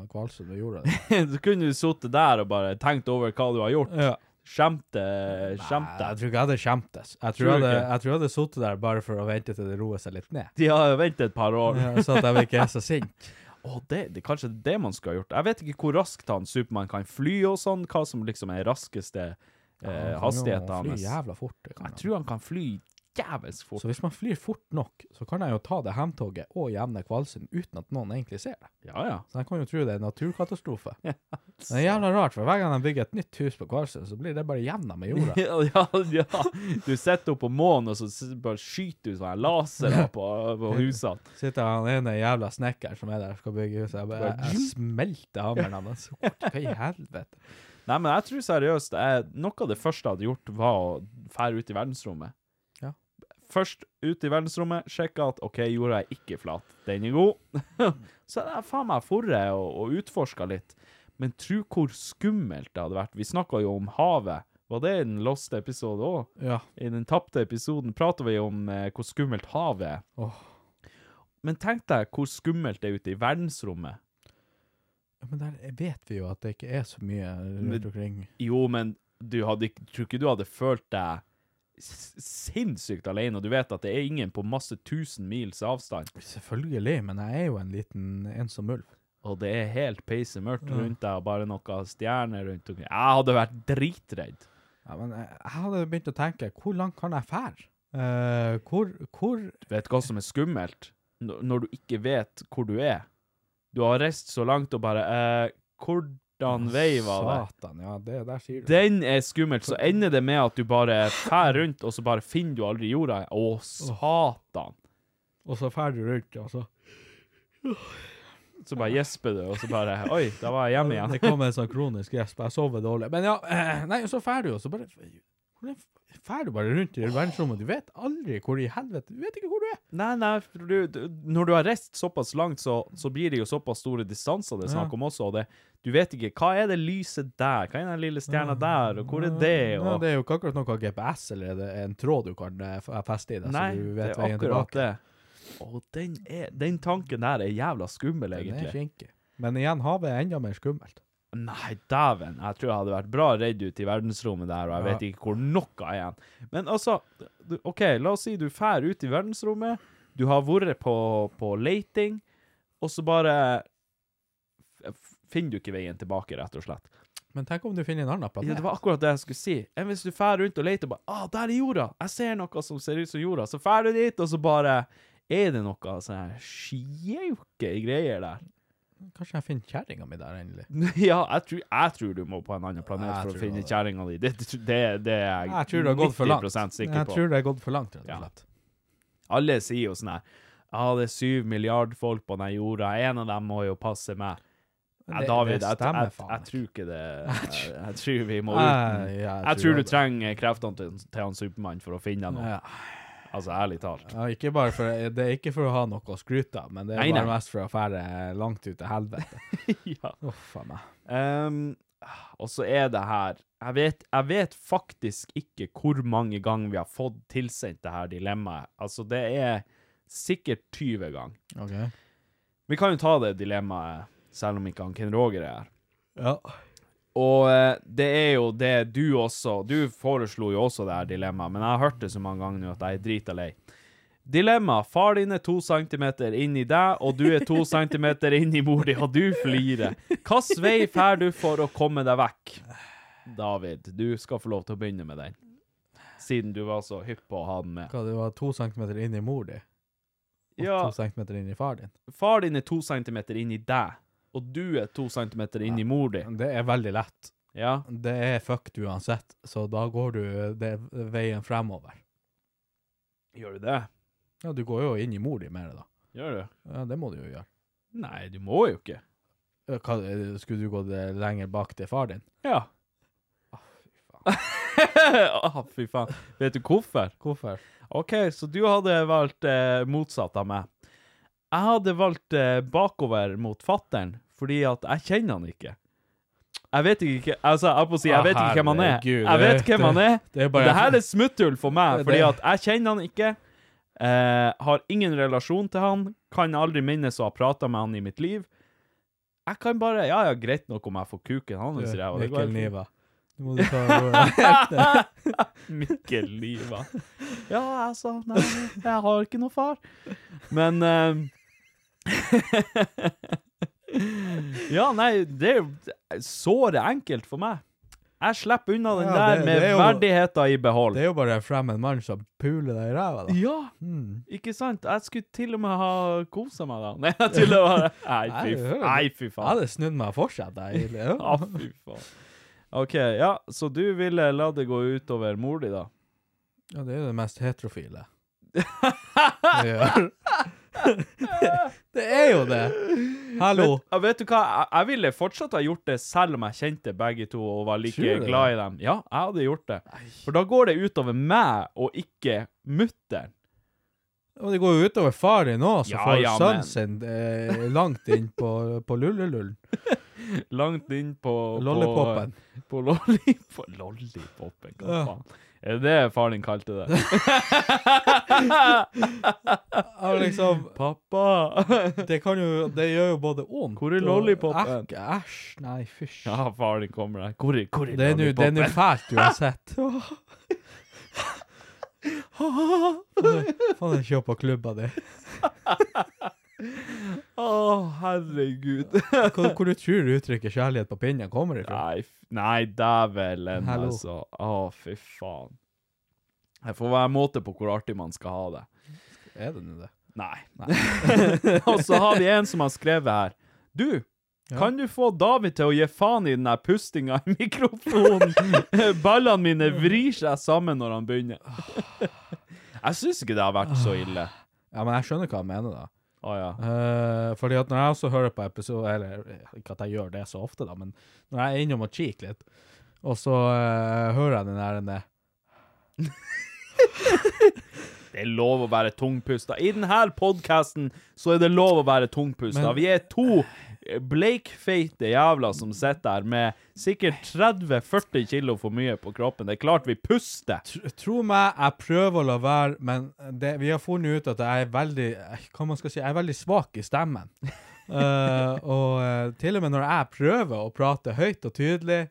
eh, Kvalsund og gjorde det. Så kunne du sittet der og bare tenkt over hva du har gjort. Ja. Skjemte, Nei, skjemte. jeg tror ikke jeg hadde skjemtes. Jeg tror Tror jeg du hadde, ikke? jeg tror jeg hadde sittet der bare for å vente til det roer seg litt ned. De har jo ventet et par år. Ja, så at de ikke er så sint. Å, det, det, kanskje det er det man skulle ha gjort. Jeg vet ikke hvor raskt han Supermann kan fly og sånn, hva som liksom er raskeste eh, hastigheten Han hans. flyr jævla fort. det kan Jeg han. tror han kan fly jævlig fort. Så hvis man flyr fort nok, så kan jeg jo ta det hemtoget og jevne Kvalsund uten at noen egentlig ser det. Ja, ja. Så jeg kan jo tro det er en naturkatastrofe. Det er jævla rart, for hver gang de bygger et nytt hus på Kvalsund, så blir det bare jevna med jorda. Ja, ja, ja. Du sitter oppe på månen, og så s- bare skyter du sånn sånne lasere på, på husene. Sitter han ene jævla snekkeren som er der og skal bygge huset, jeg bare Bare- jeg smelter hammeren hans. Hva i helvete? Nei, men jeg tror seriøst jeg, Noe av det første jeg hadde gjort, var å fære ut i verdensrommet. Ja. Først ut i verdensrommet, sjekke at OK, jorda er ikke flat. Den er god. Så hadde jeg faen meg forret og, og utforska litt. Men tro hvor skummelt det hadde vært. Vi snakka jo om havet. Var det i den loste episoden òg? Ja. I den tapte episoden prata vi om eh, hvor skummelt havet er. Åh. Men tenk deg hvor skummelt det er ute i verdensrommet. Ja, Men der vet vi jo at det ikke er så mye rundt omkring. Jo, men du hadde, ikke- tror ikke du hadde følt deg s- sinnssykt alene, og du vet at det er ingen på masse tusen mils avstand, Selvfølgelig, men jeg er jo en liten ensom ulv. og det er helt peise mørkt rundt deg, og bare noen stjerner rundt omkring. Jeg hadde vært dritredd. Ja, men jeg jeg hadde begynt å tenke, hvor langt kan jeg fære? Eh, hvor, hvor Vet du hva som er skummelt? Når når du ikke vet hvor du er. Du har reist så langt og bare eh, Hvor Satan vei var det. Satan, ja, det der sier du. Den er skummelt. Så ender det med at du bare fær rundt, og så bare finner du aldri jorda. Å, satan. Og så drar du rundt, og så Så bare gjesper du, og så bare Oi, da var jeg hjemme igjen. Det kom en sånn kronisk gjesp. Jeg sover dårlig. Men ja, eh, nei, og så drar du, og så bare Hvordan f- drar du bare rundt i verdensrommet? Du vet aldri hvor i helvete Du vet ikke hvor du er. Nei, nei, for du, du, når du har reist såpass langt, så, så blir det jo såpass store distanser det er snakk om også, og det, du vet ikke, hva er det lyset der, hva er den lille stjerna der, og hvor er det, Ja, og... det er jo ikke akkurat noe GPS eller det er en tråd du kan eh, f- feste i deg, Nei, så du det vet er veien akkurat tilbake. det. Og den, er, den tanken der er jævla skummel, Den er egentlig. kinkig. Men igjen, havet er enda mer skummelt. Nei, dæven, jeg tror jeg hadde vært bra redd ut i verdensrommet der, og jeg Ja. vet ikke hvor noe er igjen. Men altså, du, ok, la oss si du fær ut i verdensrommet, du har vært på, på leiting, og så bare f- finner du ikke veien tilbake, rett og slett. Men tenk om du finner en annen Ja, det planet? var akkurat det jeg skulle si. Enn hvis du fær rundt og leter, bare, ah, der er jorda, jeg ser noe som ser ut som jorda, så fær du dit, og så bare, er det noe sånn her sjeuke greier der? Kanskje jeg finner kjerringa mi der, endelig. Ja, jeg tror, jeg tror du må på en annen planet Jeg for å tror finne det. kjerringa di. Det, det, det er jeg, Jeg tror det har gått for langt. 90% sikker Jeg på. tror det har gått for langt, rett Ja. og slett. Alle sier jo sånn her Ja, det er syv milliard folk på denne jorda, en av dem må jo passe meg. Det- Ja, David, det jeg, stemmer jeg, jeg, faen ikke. tror ikke det Jeg, jeg tror vi må Nei, uten. jeg Jeg tror tror du det. trenger kreftene til, til han Supermann for å finne deg noe. Ja. Altså, ærlig talt. Ja, ikke bare for, det er ikke for å ha noe å skryte av, men det er Nei, bare nei. mest for å fære langt ut til helvete. ja. Å, faen meg. Ehm, og så er det her jeg vet, jeg vet faktisk ikke hvor mange ganger vi har fått tilsendt det her dilemmaet. Altså, det er sikkert 20 ganger. Ok. Vi kan jo ta det dilemmaet, selv om ikke han Ken Roger er her. Ja. Og eh, det er jo det du også Du foreslo jo også det her dilemmaet, men jeg har hørt det så mange ganger nå at jeg er drita lei. Dilemma. Far din er to centimeter inni deg, og du er to centimeter inni mor di, og du flirer. Hvilken vei drar du for å komme deg vekk? David, du skal få lov til å begynne med den, siden du var så hypp på å ha den med. Hva, det var to centimeter inn i mor di, og Ja, to centimeter inn i far din. far din er to centimeter inni deg, og du er to centimeter inni mor di. Det er veldig lett. Ja. Det er fucked uansett, så da går du det, veien fremover. Gjør du det? Ja, du går jo inn i mor di med det, da. Gjør du? Ja, det må du jo gjøre. Nei, du må jo ikke. Ja, Hva, eh, skulle du gå det lenger bak til far din? Ja. Ah, fy faen. Vet du hvorfor? Hvorfor? OK, så du hadde valgt eh, motsatt av meg. Jeg hadde valgt eh, bakover mot fattern, fordi at jeg kjenner han ikke. Jeg vet ikke Altså, jeg holdt på å si, jeg Å, vet ikke hvem han er. Ah, herregud, Jeg vet det- hvem han er. det er bare- Det her er smutthull for meg, Det- fordi at jeg kjenner han ikke. Eh, har ingen relasjon til han. Kan aldri minnes å ha prata med han i mitt liv. Jeg kan bare Ja, ja, greit nok om jeg får kuken hans i ræva. det går helt Mikkel fint. Niva. Nå må du ta Mikkel Liva. Ja, altså Nei, jeg har ikke noe far. Men eh, Ja, nei, det er jo såre enkelt for meg. Jeg slipper unna den Ja, der det- med det er jo- verdigheten i behold. Det er jo bare frem en mann som puler deg i ræva, da. Ja, Mm. ikke sant? Jeg skulle til og med ha kosa meg da. Nei, jeg tuller bare. Nei, fy, Nei, det f- er- nei, fy Jeg faen. hadde snudd meg og fortsatt, jeg. egentlig. Ja, fy faen. OK, ja, så du ville la det gå utover mor di, da? Ja, det er jo det mest heterofile. Det gjør. det er jo det! Hallo. Vet, ja, vet du hva, jeg, jeg ville fortsatt ha gjort det selv om jeg kjente begge to og var like Tror du det? glad i dem. Ja, jeg hadde gjort det. For da går det utover meg og ikke mutter'n. Og det går jo utover far din òg, som Ja, får ja, men- sønnen sin eh, langt inn på, på lullelullen. Langt inn på Lollipopen. På, på lollipop, lollipopen, hva Ja. faen. Er det det faren din kalte det? Ja, liksom, Pappa! det kan jo Det gjør jo både vondt Hvor er og lollipopen? ekk- Æsj, nei, fysj. ja, faren din kommer der. Hvor er, hvor er Det er nå- det er nå lollipopen? fælt uansett. Åh. Faen, jeg kjøper klubba di. Å, herregud. Hvor, hvor du tror uttrykket 'kjærlighet på pinnen' kommer ifra? Nei, f- nei dævelen, Hallo. altså. Å, fy faen. Det får være måte på hvor artig man skal ha det. Er det nå det? Nei. Og så har vi en som har skrevet her. Du, Kan du få David til å gi faen i den der pustinga i mikrofonen? Ballene mine vrir seg sammen når han begynner. Jeg syns ikke det har vært så ille. Ja, men jeg skjønner hva han mener, da. Å ja. Eh, fordi at når jeg også hører på episode Eller eh, ikke at jeg gjør det så ofte, da, men når jeg er innom og kikker litt, og så eh, hører jeg den der den der, Det er lov å være tungpusta. I denne podkasten så er det lov å være tungpusta. Men- Vi er to bleikfeite jævler som sitter her med sikkert 30-40 kilo for mye på kroppen. Det er klart vi puster. Tr- Tro meg, jeg prøver å la være, men det, vi har funnet ut at jeg er veldig eh, Hva man skal si, jeg er veldig svak i stemmen. Eh, og eh, til og med når jeg prøver å prate høyt og tydelig,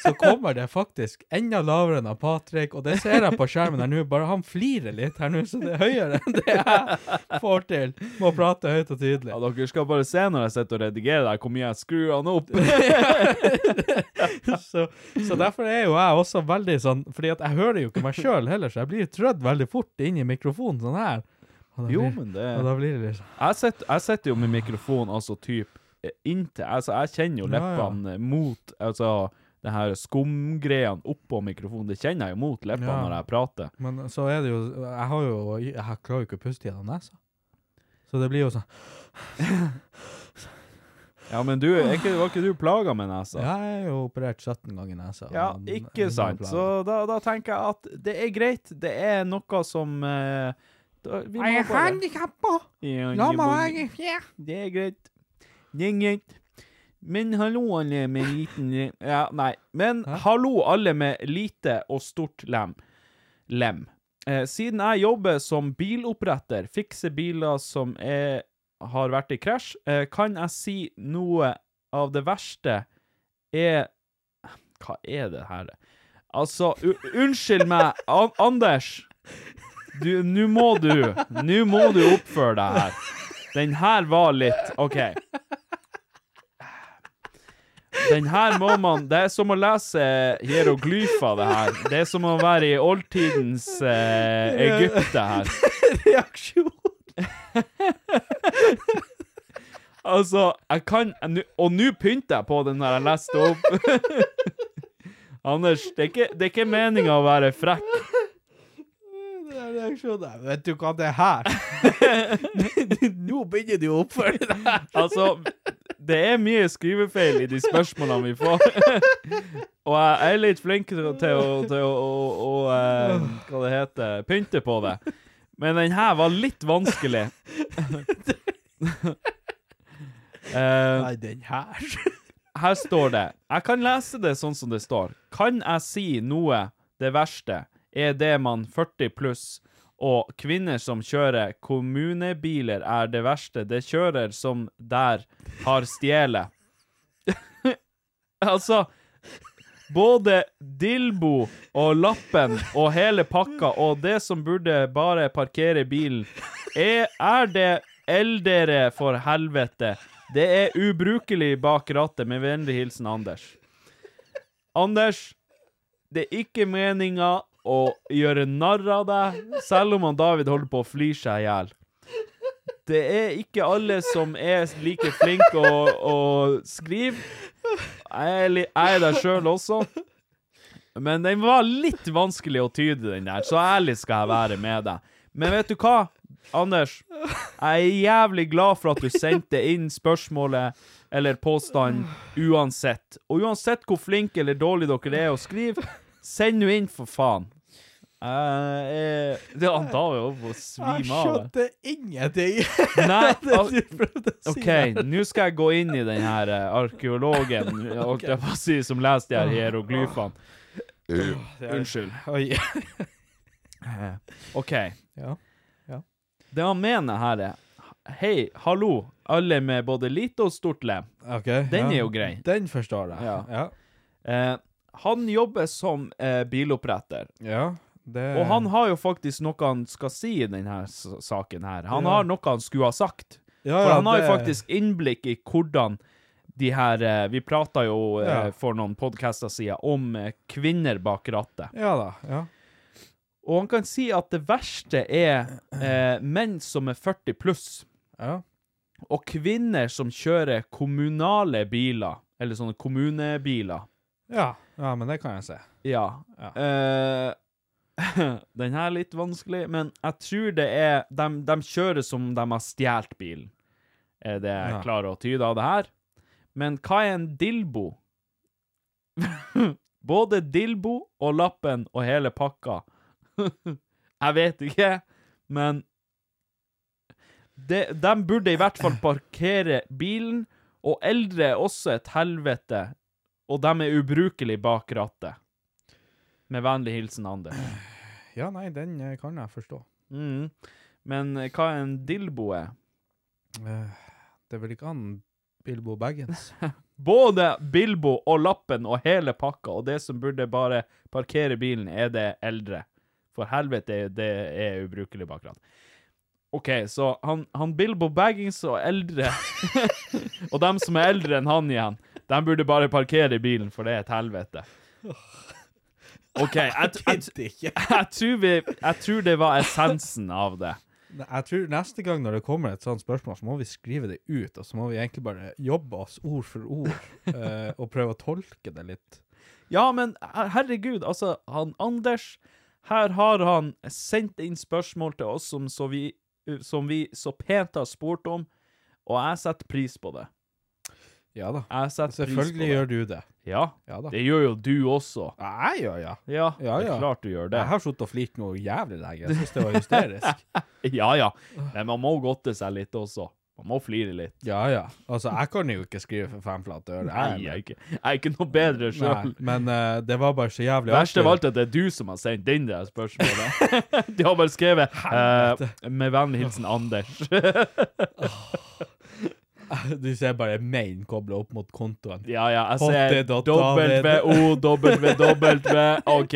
så kommer det faktisk enda lavere enn av Patrick, og det ser jeg på skjermen her nå. Bare han flirer litt her nå, så det er høyere enn det jeg får til med å prate høyt og tydelig. Ja, dere skal bare se når jeg sitter og redigerer der, hvor mye jeg skrur han opp. så, så derfor er jo jeg også veldig sånn Fordi at jeg hører jo ikke meg sjøl heller, så jeg blir trødd veldig fort inn i mikrofonen sånn her. Og da Jo, blir- men det- Og da blir det liksom Jeg sitter, jeg sitter jo med mikrofonen altså typ eh, inntil Altså, jeg kjenner jo Ja, ja. leppene mot Altså, det her skumgreiene oppå mikrofonen, det kjenner jeg jo mot leppene Ja. når jeg prater. Men så er det jo Jeg har jo Jeg klarer jo ikke å puste gjennom nesa. Så det blir jo sånn Ja, men du, er ikke, var ikke du plaga med altså? nesa? Jeg er jo operert 17 ganger i nesa. Ja, og- ikke og- sant. Så da, da tenker jeg at det er greit. Det er noe som eh, da, vi må Jeg er bare- handikappa! Ja, La det meg må- være i fred! Det er greit. Det er greit. Men hallo, alle med liten Ja, nei. Men hallo, alle med lite og stort lem. Lem. Eh, siden jeg jobber som biloppretter, fikser biler som er, har vært i krasj, eh, kan jeg si noe av det verste er Hva er det her? Altså, u- unnskyld meg, An Anders. Du, nå må du, nå må du oppføre deg her. Den her var litt, ok. Den her må man, det er som å lese hieroglyfer det her. Det er som å være i oldtidens eh, Egypt det her. Reaksjon! Altså, jeg kan nu- Og nå pynter jeg på den her jeg leste opp. Anders, det er ikke, det er ikke meninga å være frekk. Det er reaksjon der. Vet du hva det er her? Nå begynner du å oppføre deg! Altså, det er mye skrivefeil i de spørsmålene vi får. Og jeg er litt flink til å, til å, til å, å, å eh, Hva det heter Pynte på det. Men den her var litt vanskelig. Eh, Nei, den her her står det Jeg kan lese det sånn som det står. Kan jeg si noe det verste er det man 40 pluss og kvinner som kjører kommunebiler er det verste. Det kjører som der har stjelet. altså Både Dilbo og Lappen og hele pakka og det som burde bare parkere bilen, er, er det eldere for helvete. Det er ubrukelig bak rattet. Med vennlig hilsen Anders. Anders, det er ikke meninga å gjøre narr av deg, selv om han David holder på å flire seg i hjel. Det er ikke alle som er like flinke å, å skrive. Jeg er, li jeg er der sjøl også. Men den var litt vanskelig å tyde, den der, så ærlig skal jeg være med deg. Men vet du hva, Anders? Jeg er jævlig glad for at du sendte inn spørsmålet eller påstanden uansett. Og uansett hvor flink eller dårlig dere er å skrive, send nå inn, for faen. Eh, eh, det han David er over å Jeg svime av. skjønte ingenting! Nei, al- du prøvde å si OK, nå skal jeg gå inn i den her eh, arkeologen holdt jeg på å si, som leser de Ah. her hieroglyfene. Unnskyld. Oi. OK. Ja. Det han mener her, er Hei, hallo, alle med både lite og stort lem. Ok, Den ja. er jo grei. Den forstår jeg. Ja. Ja. Eh, han jobber som eh, biloppretter, ja det... og han har jo faktisk noe han skal si i denne s- saken her. Han Ja. har noe han skulle ha sagt. ja, For ja, han har jo det- faktisk innblikk i hvordan de her eh, Vi prata jo eh, Ja. for noen podcaster siden om eh, kvinner bak rattet. Ja da. Ja. Og han kan si at det verste er eh, menn som er 40 pluss. ja. og kvinner som kjører kommunale biler, eller sånne kommunebiler. Ja, ja men det kan jeg se. Ja. Eh, den her er litt vanskelig, men jeg tror det er De, de kjører som de har stjålet bilen, er det jeg Ja. klarer å tyde av det her. Men hva er en dilbo? Både dilbo og lappen og hele pakka. jeg vet ikke, men det- De burde i hvert fall parkere bilen, og eldre er også et helvete, og de er ubrukelige bak rattet. Med vennlig hilsen Anders. Ja, nei, den eh, kan jeg forstå. Mm. Men eh, hva en dilbo er? Eh, Det er vel ikke han Bilbo Baggins? Både Bilbo og lappen og hele pakka, og det som burde bare parkere bilen, er det eldre. For helvete, det er ubrukelig bakgrunn. OK, så han, han Bilbo Baggins og eldre Og dem som er eldre enn han igjen, dem burde bare parkere bilen, for det er et helvete. OK, jeg, t- jeg, t- jeg, tror, vi, jeg tror det var essensen av det. Ne- Jeg tror neste gang når det kommer et sånt spørsmål, så må vi skrive det ut, og så må vi egentlig bare jobbe oss ord for ord, eh, og prøve å tolke det litt. Ja, men her- herregud, altså, han Anders Her har han sendt inn spørsmål til oss som, så vi, som vi så pent har spurt om, og jeg setter pris på det. Ja da. Jeg setter pris på det. Selvfølgelig gjør du det. Ja, Ja da. det gjør jo du også. Ja, Jeg gjør ja. Ja, Ja, det ja. er klart du gjør det. Jeg har sittet og flirt noe jævlig lenge. Jeg syns det var hysterisk. Ja, ja. Men man må godte seg litt også. Man må flire litt. Ja ja. Altså, jeg kan jo ikke skrive for fem flate øre. Nei, jeg er ikke, jeg er ikke noe bedre sjøl. Nei, men eh, det var bare så jævlig Det verste av alt er at det er du som har sendt inn det her spørsmålet. De har bare skrevet eh, 'Med vennlig hilsen Anders'. Du ser bare main kobla opp mot kontoen. Ja, ja, jeg ser Hottie.david. WWW, OK,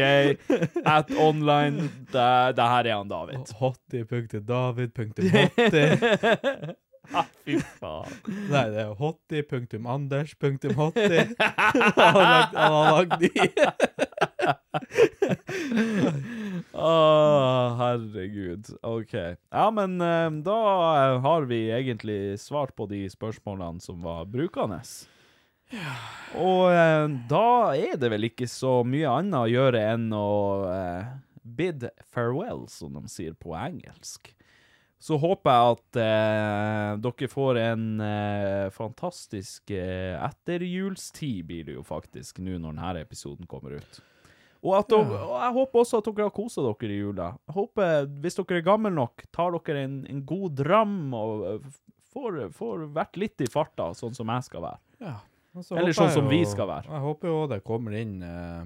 at online. Det, det her er han David. Hottie.david.hotti. Ah, Fy faen. Nei, det er hotti.anders.hotti. Han har lagd- han har lagd de. Å, herregud. OK. Ja, men eh, da eh, har vi egentlig svart på de spørsmålene som var brukende. Og eh, da er det vel ikke så mye annet å gjøre enn å eh, bid farewell, som de sier på engelsk. Så håper jeg at eh, dere får en eh, fantastisk eh, etterjulstid, blir det jo faktisk, nå når denne episoden kommer ut. Og, at dere, og jeg håper også at dere har kosa dere i jula. Jeg håper, Hvis dere er gamle nok, tar dere en, en god dram og eh, f- får, får vært litt i farta, sånn som jeg skal være. Ja, og så Eller håper jeg sånn som vi jo- skal være. Jeg håper jo det kommer inn eh,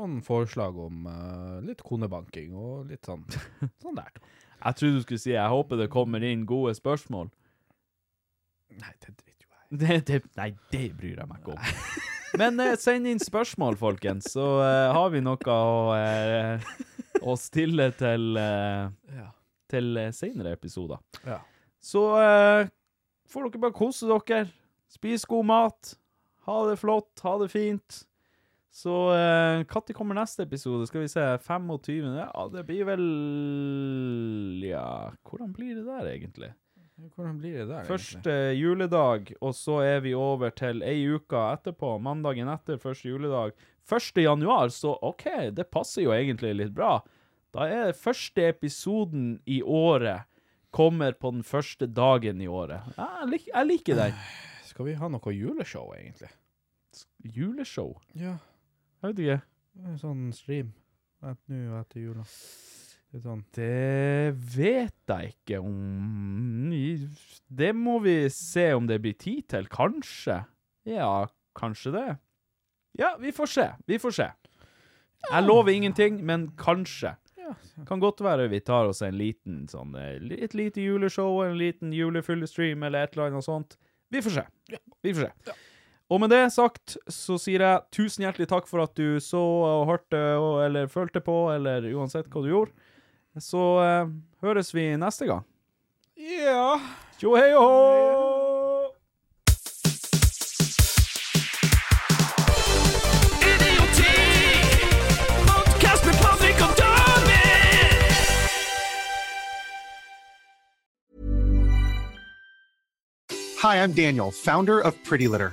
noen forslag om eh, litt konebanking og litt sånn, sånn der. Jeg trodde du skulle si 'jeg håper det kommer inn gode spørsmål'. Nei, det driter jo jeg i. Det, det, nei, det bryr jeg meg ikke om. Men eh, send inn spørsmål, folkens, så eh, har vi noe å, eh, å stille til, eh, Ja. til eh, senere episoder. Ja. Så eh, får dere bare kose dere. Spis god mat. Ha det flott. Ha det fint. Så eh, når kommer neste episode? Skal vi se 25. Ja, det blir vel Ja, hvordan blir det der, egentlig? Hvordan blir det der? egentlig? Første juledag, og så er vi over til ei uke etterpå, mandagen etter første juledag. 1. januar, så OK, det passer jo egentlig litt bra. Da er første episoden i året kommer på den første dagen i året. Jeg, lik, jeg liker den. Skal vi ha noe juleshow, egentlig? Juleshow? Ja. Jeg vet ikke. En sånn stream. Et Nå og etter jula. Litt sånn. Det vet jeg ikke om Det må vi se om det blir tid til, kanskje. Ja, kanskje det. Ja, vi får se. Vi får se. Jeg lover ingenting, men kanskje. Ja. Kan godt være vi tar oss en liten sånn eh, li- Et lite juleshow, en liten julefullestream eller et eller annet sånt. Vi får se. Vi får se. Og med det sagt så sier jeg tusen hjertelig takk for at du så og hørte og, eller følte på, eller uansett hva du gjorde. Så eh, høres vi neste gang. Ja. Tjo hei og hå! Idioti. Podcast med Patrick og David. Hi, I'm Daniel, founder of Pretty Litter.